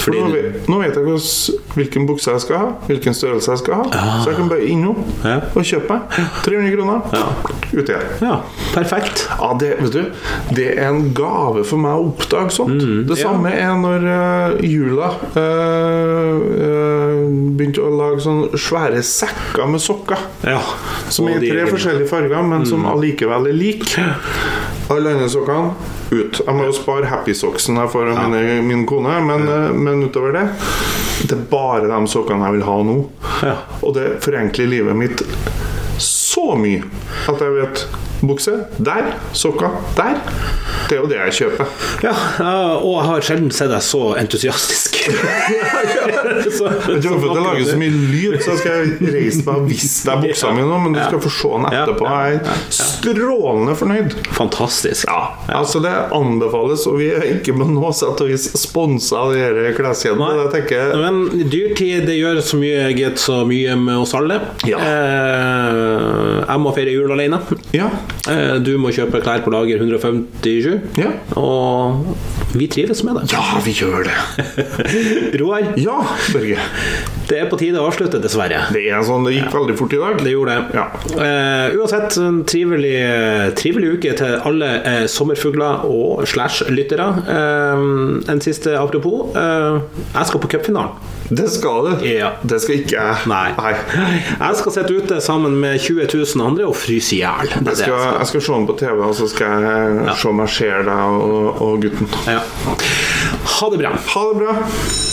[SPEAKER 2] For
[SPEAKER 1] Fordi
[SPEAKER 2] nå,
[SPEAKER 1] du-
[SPEAKER 2] vet, nå vet jeg hvordan, hvilken bukse jeg skal ha, hvilken størrelse jeg skal ha. Så jeg kan bare innom
[SPEAKER 1] Ah. Ja.
[SPEAKER 2] og kjøpe meg. 300 kroner, ut igjen.
[SPEAKER 1] ja, perfekt.
[SPEAKER 2] Ja, det, vet du, det er en gave for meg å oppdage sånt. det
[SPEAKER 1] Mm, ja.
[SPEAKER 2] samme er når eh, jula eh, eh, begynte å lage sånne svære sekker med sokker.
[SPEAKER 1] Ja.
[SPEAKER 2] Som
[SPEAKER 1] Og
[SPEAKER 2] er i
[SPEAKER 1] de- Mm.
[SPEAKER 2] tre forskjellige farger, men som allikevel er lik. Alle andre sokkene ut. Jeg må jo spare happy-socksen jeg får av mine- min kone, men, eh, men utover det Det er bare de sokkene jeg vil ha nå.
[SPEAKER 1] Ja.
[SPEAKER 2] Og det forenkler livet mitt så mye at jeg vet Bukse der, sokker der. Det er jo det jeg kjøper.
[SPEAKER 1] Ja, ja, og jeg har sjelden sett deg så entusiastisk. så,
[SPEAKER 2] Jeg tror ikke at det lager så mye lyd, så jeg skal reise meg og vise deg buksa mi nå, men du skal få se den
[SPEAKER 1] Ja.
[SPEAKER 2] etterpå. Jeg er strålende fornøyd.
[SPEAKER 1] Fantastisk.
[SPEAKER 2] Ja, altså det anbefales, og vi er ikke på noe sett og vis sponsa av disse kleskjedene. Jeg tenker
[SPEAKER 1] Men dyrtid det gjør så mye gitt så mye med oss alle.
[SPEAKER 2] Ja.
[SPEAKER 1] Eh, jeg må feire jul alene.
[SPEAKER 2] Ja.
[SPEAKER 1] Eh, du må kjøpe klær på lager 157.
[SPEAKER 2] Ja.
[SPEAKER 1] Og vi trives med det.
[SPEAKER 2] Ja, vi gjør det.
[SPEAKER 1] Roar,
[SPEAKER 2] Ja, Børge.
[SPEAKER 1] det er på tide å avslutte, dessverre.
[SPEAKER 2] Det er sånn, det gikk veldig fort i dag.
[SPEAKER 1] Det gjorde det.
[SPEAKER 2] Ja.
[SPEAKER 1] Eh, uansett, en trivelig, trivelig uke til alle eh, sommerfugler og slash lyttere. Eh, en siste apropos. Eh, jeg skal på cupfinalen.
[SPEAKER 2] Det skal du.
[SPEAKER 1] Ja.
[SPEAKER 2] Det skal ikke jeg.
[SPEAKER 1] Nei. Jeg skal sitte ute sammen med 20 000 andre og fryse i hjel. Det er altså-
[SPEAKER 2] Jeg
[SPEAKER 1] det
[SPEAKER 2] skal,
[SPEAKER 1] jeg
[SPEAKER 2] jeg skal se den på TV, og så skal jeg se om jeg ser deg og, og gutten.
[SPEAKER 1] skal. Ja. Ha det bra.
[SPEAKER 2] Ha det bra.